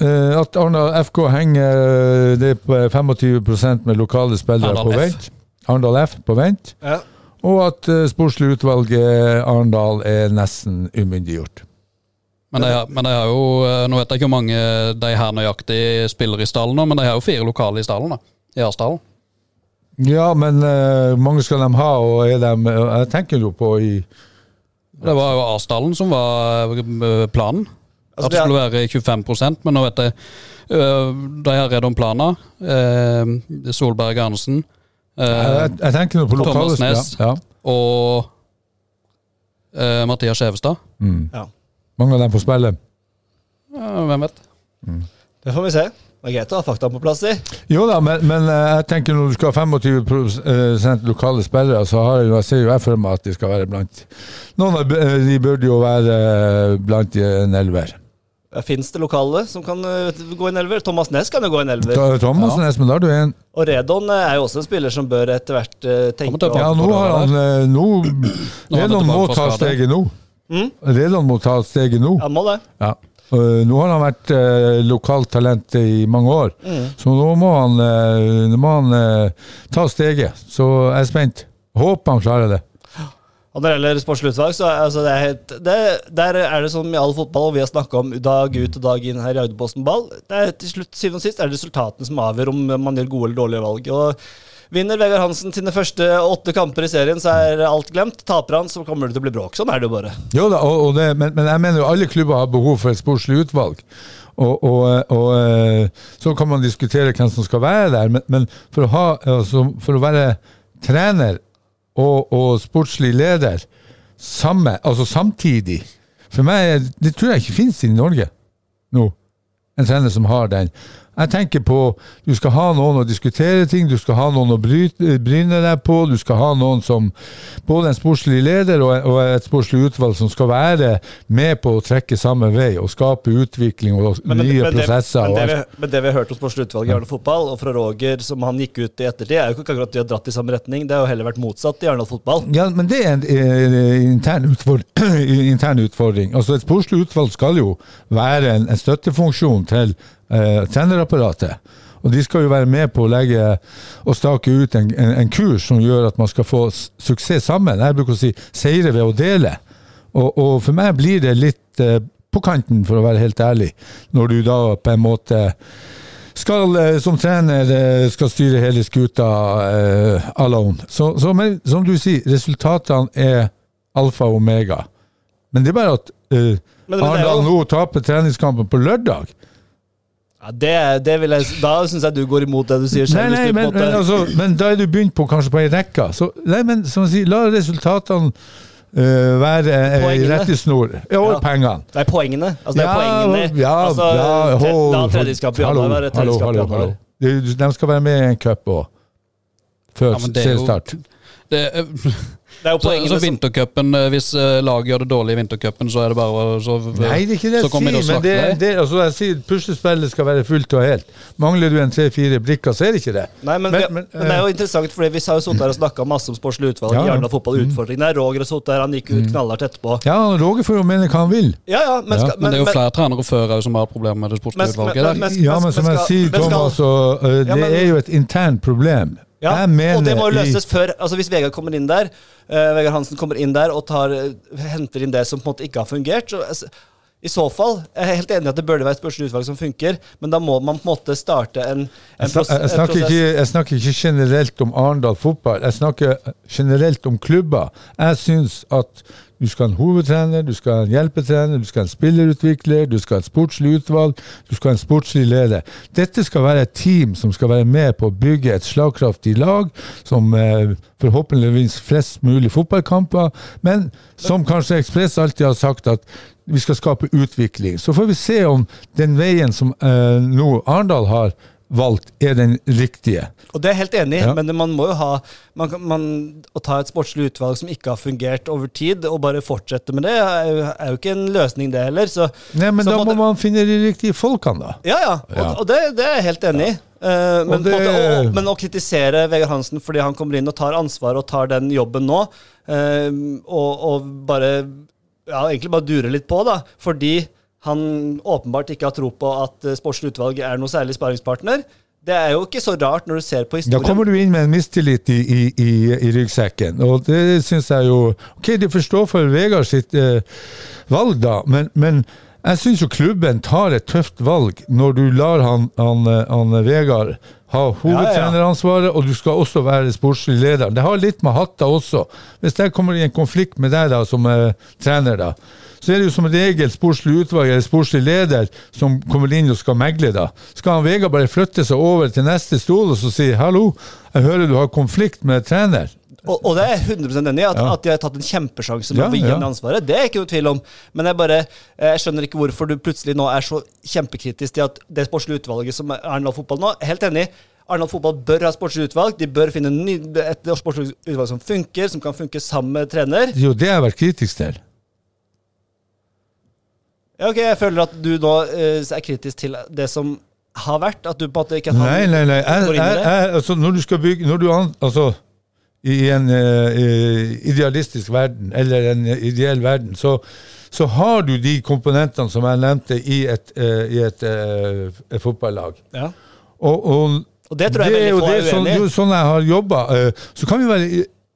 S3: eh, at Arendal FK henger eh, det er på 25 med lokale spillere
S6: Arendal
S3: på
S6: F.
S3: vent. Arendal F på vent.
S5: ja.
S3: Og at eh, sportslig utvalg eh, Arendal er nesten umyndiggjort.
S6: Men de, har, men de har jo eh, Nå vet jeg ikke hvor mange de her nøyaktig spiller i stallen, nå, men de har jo fire lokale i stallen. da I Arsdalen.
S3: Ja, men eh, mange skal de ha, og er de eh, Jeg tenker jo på i
S6: Det var jo Arsdalen som var eh, planen.
S5: Altså,
S6: At det skulle være 25 men nå vet jeg eh, De har redd om planen. Eh, Solberg Arnesen eh,
S3: Jeg, jeg tenker nå på lokale
S6: Thomas Næss.
S3: spillere. Ja.
S6: og eh, Mathias Skjevestad.
S5: ja.
S3: Mange av dem får spille.
S6: Ja, hvem vet?
S5: Det får vi se. Det er greit å ha fakta på plass i.
S3: Jo da, men, men eh, jeg tenker når du skal ha 25 lokale spillere, så har jeg, jo- jeg ser jo jeg for meg at de skal være blant Noen av eh, de burde jo være eh, blant i en elver.
S5: Fins det lokale som kan eh, gå i en elver? Thomas Næss kan jo gå i en elver.
S3: Da- Thomas ja. Espen, da har du en.
S5: Og Redon eh, er jo også en spiller som bør etter hvert eh,
S6: Kommer
S5: tenke
S6: til å
S5: å-
S3: Ja, nå har han eh, Nå
S6: Nå er han
S3: Redon må
S6: tilbake fra
S3: ta
S6: skade.
S3: steget nå.
S5: Mm.
S3: Redon må ta steget nå.
S5: Han må det.
S3: Ja. Eh, nå har han vært eh, lokalt talent i mange år, så nå må han, eh, nå må han eh, ta steget. Så jeg er spent. Håper han klarer det.
S5: Og når det gjelder sportslig utvalg, så er, altså, det er helt, det, der er det som i all fotball, og vi har snakka om dag ut og dag inn her i Agderposten Ball, det er til slutt, syvende og sist er det resultatene som avgjør om man gjør gode eller dårlige valg. Og vinner Vegard Hansen sine første åtte kamper i serien, så er alt glemt. Taper han, så kommer det til å bli bråk. Sånn er det jo bare.
S3: Jo da, og, og det, men, men jeg mener jo alle klubber har behov for et sportslig utvalg. Og, og, og eh, så kan man diskutere hvem som skal være der, men, men for, å ha, altså, for å være trener og, og sportslig leder samme, altså samtidig For meg, er- det tror jeg ikke finnes i Norge nå, en trener som har den. Jeg tenker på du skal ha noen å diskutere ting, du skal ha noen å bryte, bryne deg på, du skal ha noen som både en sportslig leder og, og et sportslig utvalg som skal være med på å trekke samme vei og skape utvikling og nye prosesser. altså.
S5: men,
S3: og
S5: det,
S3: alt.
S5: vi, men det vi har hørt om sportslig utvalg i Arendal fotball, og fra Roger, som han gikk ut i ettertid, er jo ikke akkurat at de har dratt i samme retning. Det har jo heller vært motsatt i Arendal fotball.
S3: Ja, men det er en eh, intern [CLEARS THROAT] utfordring. intern utfordring. Altså Et sportslig utvalg skal jo være en, en støttefunksjon til eh, trenerapparatet. Og de skal jo være med på å legge og stake ut en, en, en kurs som gjør at man skal få s- suksess sammen. Jeg bruker å si seire ved å dele. Og, og for meg blir det litt eh, på kanten, for å være helt ærlig, når du da på en måte skal eh, som trener eh, skal styre hele skuta eh, alone. Så, så, men som du sier, resultatene er alfa og omega. Men det er bare at eh,
S5: Men- men det er
S3: Arendal
S5: jo-
S3: nå taper treningskampen på lørdag.
S5: Ja, det, det vil jeg, da syns jeg du går imot det du sier selv.
S3: Nei, nei,
S5: hvis du på en
S3: men,
S5: måte-
S3: men, altså, men da er du begynt på kanskje på ei rekke. Så, nei, men som jeg sier, la resultatene eh, være eh, ei
S5: Poengene.
S3: rettesnor. Ja, og
S5: Ja.
S3: pengene.
S5: Det er poengene. Altså, det er
S3: Ja,
S5: poengene.
S3: Ja,
S5: altså,
S3: ja,
S5: tre,
S3: hold-
S5: da er tredjeskamp i
S3: hallo,
S5: januar. er det
S3: hallo,
S5: tredjeskamp i
S3: hallo,
S5: januar.
S3: hallo. De, de skal være med i en cup òg. Før
S6: Ja, men det er jo-
S3: seriestart.
S6: Det, eh,
S5: Det er jo
S6: så,
S5: poengene
S6: så
S5: som
S6: vintercupen, eh, Hvis eh, laget gjør det dårlig i vintercupen, så er det bare å- så,
S3: Nei, det er ikke det
S6: så
S3: jeg
S6: kommer de og
S3: sier, men det,
S6: slakter deg.
S3: det, altså, jeg sier puslespillet skal være fullt og helt. Mangler du en tre-fire brikker, så er det ikke det.
S5: Nei, men, vi- men, Det er jo interessant, fordi vi har jo sittet her og snakka masse om sportslig utvalg.
S3: Ja,
S5: i
S3: eh, ja. Mm.
S5: Arendal fotball utfordringen der. Roger og Sotte her, han gikk ut knallhardt etterpå.
S3: eh, ja, Roger får jo mene hva han vil.
S5: Ja, ja, men,
S3: Ja,
S5: skal,
S6: Men det er jo flere trenere før òg som har problemer med det sportslige
S5: men- men-
S6: utvalget.
S5: men-
S3: Ja, men
S5: men
S3: som jeg
S5: skal-
S3: sier,
S5: men skal-
S3: Thomas, så, eh,
S5: Ja,
S3: det
S5: men-
S3: er jo et internt problem.
S5: Ja,
S3: Jeg mener
S5: og det må jo
S3: i-
S5: løses før Altså Hvis Vegard kommer inn der eh, Vegard Hansen kommer inn der og tar, eh, henter inn det som på en måte ikke har fungert så, altså, I så fall, Jeg er helt enig i at det burde være et spørsmål utvalg som funker, men da må man på en måte starte en, en
S3: Jeg, snak,
S5: pros-
S3: jeg, snakker
S5: prosess.
S3: ikke, jeg snakker ikke generelt om Arendal fotball, jeg snakker generelt om klubber. Jeg syns at du skal ha en hovedtrener, du skal ha en hjelpetrener, du skal ha en spillerutvikler, du skal ha et sportslig utvalg, du skal ha en sportslig leder. Dette skal være et team som skal være med på å bygge et slagkraftig lag, som eh, forhåpentligvis flest mulig fotballkamper, men som kanskje Ekspress alltid har sagt at vi skal skape utvikling. Så får vi se om den veien som eh, nå Arendal har valgt, er den riktige.
S5: Og det er jeg helt enig i,
S3: Ja.
S5: men man må jo ha man, kan- man, Å ta et sportslig utvalg som ikke har fungert over tid, og bare fortsette med det, er jo, er jo ikke en løsning, det heller. Så,
S3: Nei, men
S5: så
S3: da
S5: på en
S3: må
S5: måte-
S3: man finne de riktige folkene, da.
S5: Ja, ja. Og,
S3: Ja.
S5: og det, det er jeg helt enig i. Eh, men,
S3: Og det-
S5: på en måte, å, men å kritisere Vegard Hansen fordi han kommer inn og tar ansvar og tar den jobben nå, eh, og, og bare ja, egentlig bare dure litt på, da, fordi han åpenbart ikke har tro på at eh, sportslig utvalg er noe særlig sparringspartner, det er jo ikke så rart når du ser på
S3: Da
S5: historien.
S3: kommer du inn med en mistillit i, i, i, i ryggsekken, og det syns jeg jo Ok, det forstår for Vegard sitt eh, valg, da, men, men jeg syns jo klubben tar et tøft valg når du lar han, han, eh, han Vegard ha hovedtreneransvaret, og du skal også være sportslig leder. Det har litt med hatter også. Hvis jeg kommer i en konflikt med deg da, som eh, trener, da, så er det jo som regel sportslig utvalg eller sportslig leder som kommer inn og skal megle. da. Skal han Vegard bare flytte seg over til neste stol og så si 'hallo, jeg hører du har konflikt med trener'?
S5: Og, og det er jeg 100 enig i, at, at de har tatt en kjempesjanse med
S3: Ja,
S5: å gi
S3: ja.
S5: ham ansvaret. Det er ikke noe tvil om. Men jeg bare, jeg skjønner ikke hvorfor du plutselig nå er så kjempekritisk til at det sportslige utvalget som er Arendal Fotball nå Helt enig. Arendal Fotball bør ha sportslig utvalg. De bør finne ny, et sportslig utvalg som funker, som kan funke sammen med trener.
S3: Det er jo det jeg har vært kritisk til.
S5: Ja, ok, Jeg føler at du nå eh, er kritisk til det som har vært. At du på en måte ikke
S3: Nei, nei, nei. Jeg,
S5: går inn i
S3: jeg,
S5: det?
S3: jeg, altså, når du skal bygge Når du an, Altså, i en eh, eh, idealistisk verden, eller en eh, ideell verden, så, så har du de komponentene som jeg nevnte i et, eh, i et, eh, et fotballag.
S5: Ja.
S3: Og, og,
S5: Og det tror jeg
S3: er
S5: veldig
S3: jo
S5: få er
S3: det som-
S5: uenig i.
S3: det er jo sånn jeg har jobba. Så kan vi være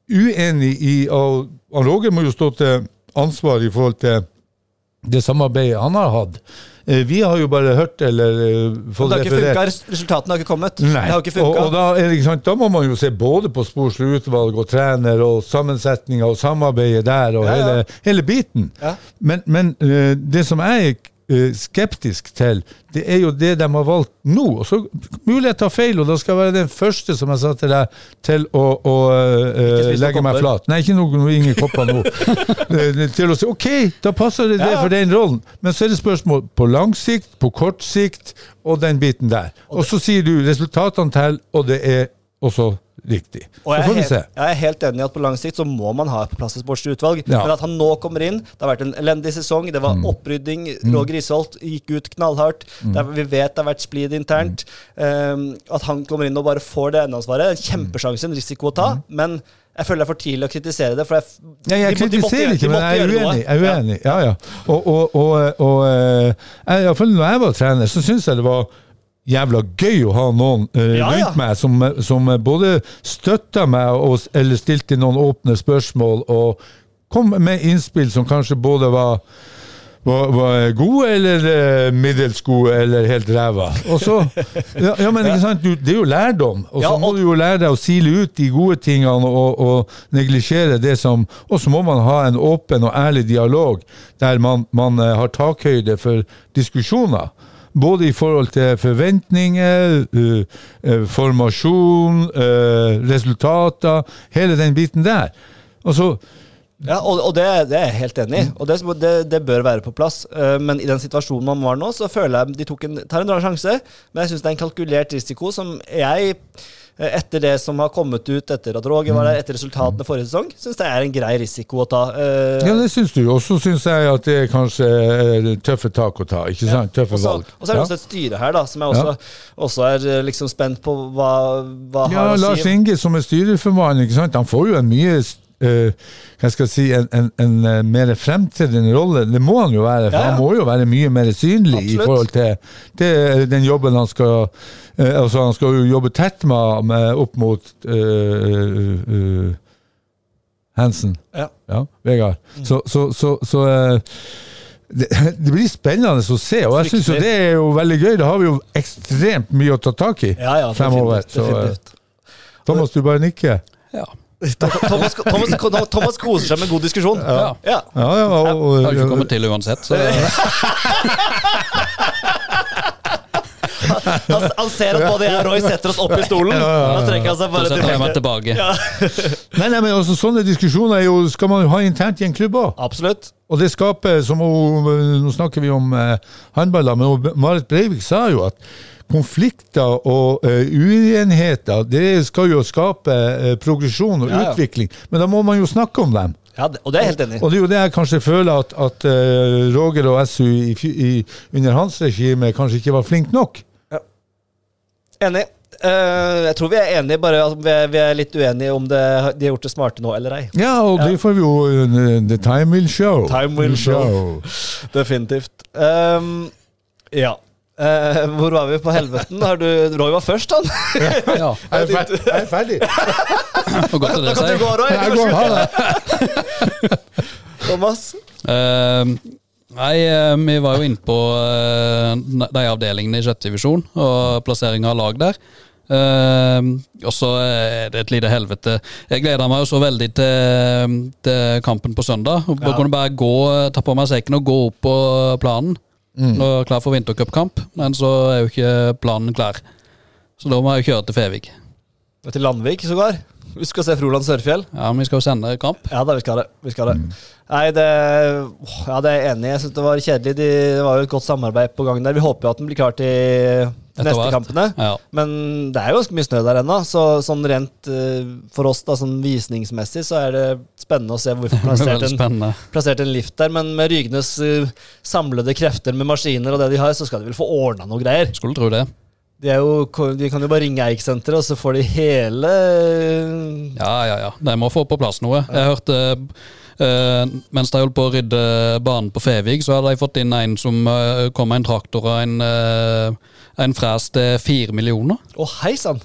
S3: uenige i Og og Roger må jo stå til ansvar i forhold til det samarbeidet han har hatt. Eh, Vi har jo bare hørt eller eh, fått
S5: Det har ikke
S3: referert.
S5: funka, resultatene har ikke kommet.
S3: Nei.
S5: Det har ikke
S3: og,
S5: funka.
S3: og da, er det, ikke sant, da må man jo se både på sportslig utvalg og trener og sammensetninga og samarbeidet der og
S5: Ja, ja.
S3: Hele, hele biten.
S5: Ja.
S3: Men, men eh, det som jeg er eh, skeptisk til, det er jo det de har valgt nå. Og så Mulig jeg tar feil, og da skal jeg være den første som jeg sa til deg, til å, å eh,
S5: spise noen
S3: legge meg
S5: kopper.
S3: flat. Nei, ikke noe, noe ingen kopper nå.
S5: [LAUGHS]
S3: Eh, til å si OK, da passer det, det
S5: Ja.
S3: for den rollen. Men så er det spørsmål på lang sikt, på kort sikt og den biten der. Og så sier du resultatene teller, og det er også riktig.
S5: Og
S3: Så
S5: jeg, er
S3: får vi
S5: helt,
S3: se.
S5: jeg er helt enig i at på lang sikt så må man ha på plass et sportslig utvalg.
S3: Ja. Mm.
S5: Men at han nå kommer inn Det har vært en elendig sesong. Det var opprydding. Roger Isholt gikk ut knallhardt. Det er, vi vet det har vært splid internt.
S3: Mm.
S5: Eh, at han kommer inn og bare får det eneansvaret, en kjempesjanse, en risiko å ta. Men jeg føler det er for tidlig å kritisere det. For jeg, f-
S3: Nei, Mm. jeg
S5: de må- de måtte
S3: kritiserer
S5: gjøre- de
S3: ikke, men
S5: måtte
S3: jeg er
S5: gjøre noe.
S3: uenig. Jeg er uenig. Ja, ja. Og, og, og, og eh, jeg, i hvert fall når jeg var trener, så syns jeg det var jævla gøy å ha noen eh,
S5: Ja, ja.
S3: rundt meg som, som både støtta meg og, eller stilte noen åpne spørsmål og kom med innspill som kanskje både var var, var gode eller eh, middels gode eller helt ræva. Og så, ja, ja, men ikke sant, du, Det er jo lærdom, og så
S5: Ja,
S3: må
S5: og-
S3: du jo lære deg å sile ut de gode tingene og, og neglisjere det som Og så må man ha en åpen og ærlig dialog der man, man eh, har takhøyde for diskusjoner. Både i forhold til forventninger, eh, eh, formasjon, eh, resultater, hele den biten der. Altså,
S5: Ja, og, og det, det er jeg helt enig i, og det, det, det bør være på plass. Eh, Men i den situasjonen man var nå, så føler jeg de tok en, tar en rar sjanse. Men jeg syns det er en kalkulert risiko som jeg, eh, etter det som har kommet ut etter at Roger var der, etter resultatene forrige sesong, syns det er en grei risiko å ta. Eh,
S3: Ja, det syns du. Og så syns jeg at det er kanskje eh, tøffe tak å ta. ikke sant?
S5: Ja.
S3: Tøffe
S5: Og så-
S3: valg.
S5: Og så er det
S3: Ja.
S5: også et styre her, da, som jeg også, også er eh, liksom spent på hva, hva
S3: Ja,
S5: har å
S3: Lars
S5: si.
S3: Inge som er styreformann, ikke sant? han får jo en mye eh, hva skal jeg si, en, en, en eh, mer fremtredende rolle. Det må han jo være, for
S5: Ja, ja.
S3: han må jo være mye mer synlig i
S5: Absolutt.
S3: forhold til, til den jobben han skal eh, Altså, han skal jo jobbe tett med, med opp mot eh, eh, Hansen.
S5: Ja. Mm.
S3: Ja, Vegard. Så, så, så, så eh, det, [LAUGHS] det blir spennende å se, og jeg syns jo
S5: Fryktelig.
S3: det er jo veldig gøy. Da har vi jo ekstremt mye å ta tak i
S5: Ja, ja,
S3: fremover.
S5: definitivt,
S3: Så, eh,
S5: definitivt.
S3: Thomas, du bare nikker.
S6: Ja.
S5: Thomas, Thomas, Thomas, Thomas koser seg med god diskusjon.
S6: Ja.
S5: Ja.
S3: Ja, ja, og,
S6: Jeg har jo
S3: og,
S6: ikke kommet til uansett. Så
S5: Han, han ser at både jeg og Roy setter oss opp i stolen. Da trekker han seg
S6: så
S5: bare
S6: setter jeg meg
S5: tilbake.
S6: tilbake.
S5: Ja.
S3: nei, nei, men også sånne diskusjoner er jo, skal man jo ha internt i en klubb òg.
S5: Absolutt.
S3: Og det skaper, som hun, nå snakker vi om eh, handball, da, men hun- Marit Breivik sa jo at konflikter og eh, uenigheter det skal jo skape eh, progresjon og
S5: Ja, ja.
S3: utvikling, men da må man jo snakke om dem.
S5: Ja, det- og det er jeg helt enig i.
S3: Og det er jo det jeg kanskje føler at, at eh, Roger og SU i, fj- i, under hans regime kanskje ikke var flink nok.
S5: Enig. Eh, jeg tror vi er enige, bare at vi er, vi er litt uenige om det, de har gjort det smarte nå eller ei.
S3: Ja, og det får vi jo eh, The time will show.
S5: Time will show. Definitivt. Ehm, ja. Eh, hvor var vi på helveten? Har du, Roy var først, han.
S6: Ja.
S3: Jeg er ferdig. Jeg er ferdig.
S6: Og godt
S5: Da
S6: det
S5: kan du
S6: seg.
S5: gå, Roy.
S3: Jeg går, ha det.
S5: Thomas.
S6: Eh, nei, eh, vi var jo inne på eh, de avdelingene i sjette divisjon og plasseringa av lag der. Eh, og så er det et lite helvete. Jeg gleda meg jo så veldig til, til kampen på søndag. Og
S5: Ja.
S6: kunne bare gå, ta på meg sekken og gå opp på planen. Og klar for vintercupkamp, men så er jo ikke planen klar. Så da må jeg jo kjøre til Fevik.
S5: Og Til Landvik sågar. Vi skal se Froland Sørfjell.
S6: Ja, men vi skal jo sende kamp.
S5: Ja da, vi skal det. Vi skal det.
S6: Mm.
S5: Nei, det, åh, ja, det er jeg enig i. Jeg syns det var kjedelig. De, det var jo et godt samarbeid på gang der. Vi håper jo at den blir klar til de neste
S6: hvert.
S5: kampene.
S6: Ja.
S5: Men det er jo ganske mye snø der ennå, så sånn rent eh, for oss da, sånn visningsmessig så er det spennende å se
S6: [LAUGHS]
S5: hvor vi får
S6: Det blir
S5: plassert
S6: veldig
S5: en,
S6: spennende.
S5: plassert en lift der. Men med Rygnes eh, samlede krefter med maskiner og det de har, så skal de vel få ordna noe greier.
S6: Skulle tro det.
S5: De, er jo, ko- de kan jo bare ringe Eiksenteret, og så får de hele
S6: Ja, ja, ja. De må få på plass noe. Jeg hørte eh, mens de holdt på å rydde banen på Fevik, så hadde de fått inn en som eh, kom med en traktor og en, eh, en fres til fire millioner.
S5: Å, hei sann!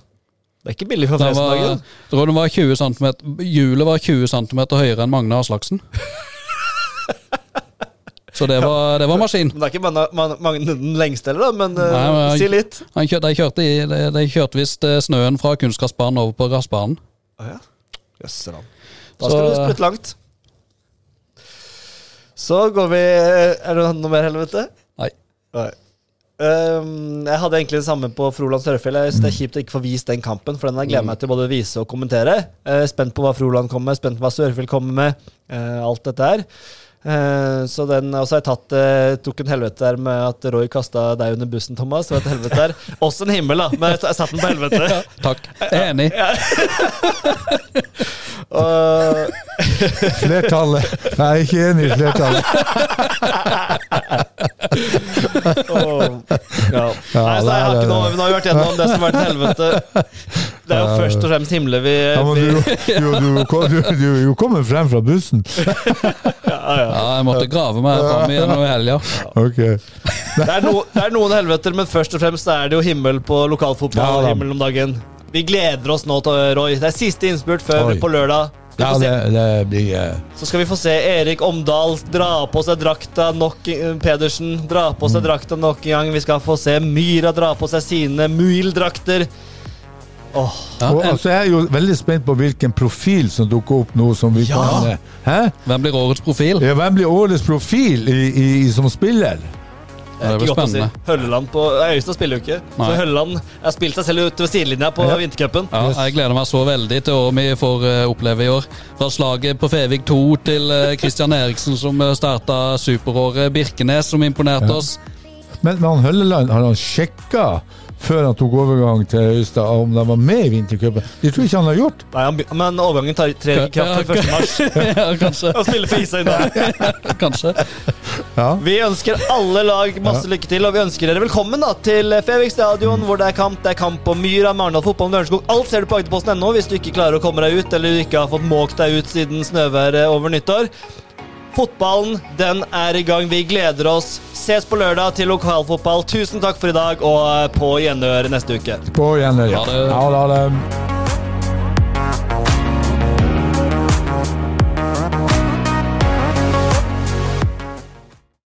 S5: Det er ikke billig for
S6: Det var,
S5: Fresenhagen.
S6: jeg tror den var 20 centimeter, hjulet var 20 cm høyere enn Magne Aslaksen. Så det var, det var maskin.
S5: Men det er ikke man, man, man, den lengste heller, da, men, eh,
S6: Nei, men-
S5: si litt.
S6: Han kjør, de kjørte, i- de, de kjørte visst eh, snøen fra kunstgressbanen over på gressbanen.
S5: Å ja. Jøsseland. Da
S6: Så-
S5: skal du spytte langt. Så går vi eh, Er det noe mer helvete?
S6: Nei.
S5: Nei. Ehm, jeg hadde egentlig det samme på Froland Sørfjell. Jeg synes Det er kjipt å ikke få vist den kampen, for den har jeg gledet meg til både å vise og kommentere. Eh, spent på hva Froland kommer med, spent på hva Sørfjell kommer med. eh, alt dette her. Eh, så den, og så har jeg tatt, eh, tok en helvete der med at Roy kasta deg under bussen, Thomas. Det var et helvete der. Også en himmel, da, men jeg satte den på helvete.
S3: [LAUGHS]
S6: Takk. Enig.
S5: Og,
S3: Flertallet. Jeg er ikke enig i flertallet.
S5: og, ja. Nei, så
S3: det
S5: jeg har
S3: er-
S5: ikke noe, men nå har vi vært gjennom det som har vært et
S3: [LAUGHS]
S5: helvete. Det er jo først og fremst himle vi,
S3: Ja, men
S5: vi [LAUGHS]
S3: du, du, du, kom- du, du, du kommer frem fra bussen.
S6: Ja, jeg måtte grave meg fram igjen nå i helga.
S3: Ok.
S5: Det er, no, det er noen helveter, men først og fremst er det jo himmel på
S3: Ja,
S5: lokalfotball.
S3: da.
S5: himmelen om dagen Vi gleder oss nå til Roy. Det er siste innspurt før
S3: Oi.
S5: på lørdag. Vi
S3: Ja,
S5: får se.
S3: det, det blir eh,
S5: Så skal vi få se Erik Omdal dra på seg drakta nok eh, Pedersen dra på seg drakta nok en gang. Vi skal få se Myra dra på seg sine Myhl-drakter. Åh,
S6: Ja,
S3: Og
S6: en-
S3: altså, Jeg er jo veldig spent på hvilken profil som dukker opp nå. som vi
S5: Ja.
S3: kan... eh, Hæ?
S6: Hvem blir årets profil?
S3: Ja, hvem blir årets profil i, i, som spiller?
S5: det er
S6: blir
S5: ikke godt å si.
S6: spennende.
S5: Hølleland på Øyestad spiller jo ikke. Så
S6: Nei.
S5: Hølleland har spilt seg selv ut ved sidelinja på
S3: Ja.
S5: vintercupen.
S6: Ja, jeg gleder meg så veldig til hva vi får eh, oppleve i år. Fra slaget på Fevik 2 til eh, Christian Eriksen som eh, starta superåret. Birkenes som imponerte oss. [LAUGHS]
S3: Men men han Hølleland, har han sjekka før han tok overgang til Øystad om de var med i vintercupen? Det tror jeg ikke han har gjort.
S5: Nei, han, be- men overgangen tar trer i kraft
S6: Ja,
S5: 1. mars.
S6: ja,
S5: [LAUGHS]
S6: kanskje.
S5: Han spiller for Isøy nå.
S6: kanskje.
S3: Ja.
S5: Vi ønsker alle lag masse lykke til, og vi ønsker dere velkommen da til Fevik stadion, hvor det er kamp. Det er kamp på Myra, Marendal fotball, Lørenskog. Alt ser du på Agderposten.no hvis du ikke klarer å komme deg ut, eller du ikke har fått måkt deg ut siden snøværet over nyttår. Fotballen, den er i gang. Vi gleder oss. Ses på lørdag til lokalfotball. Tusen takk for i dag, og på gjenhør neste uke.
S3: På igjen.
S6: Ha det.
S3: Ja, da, da.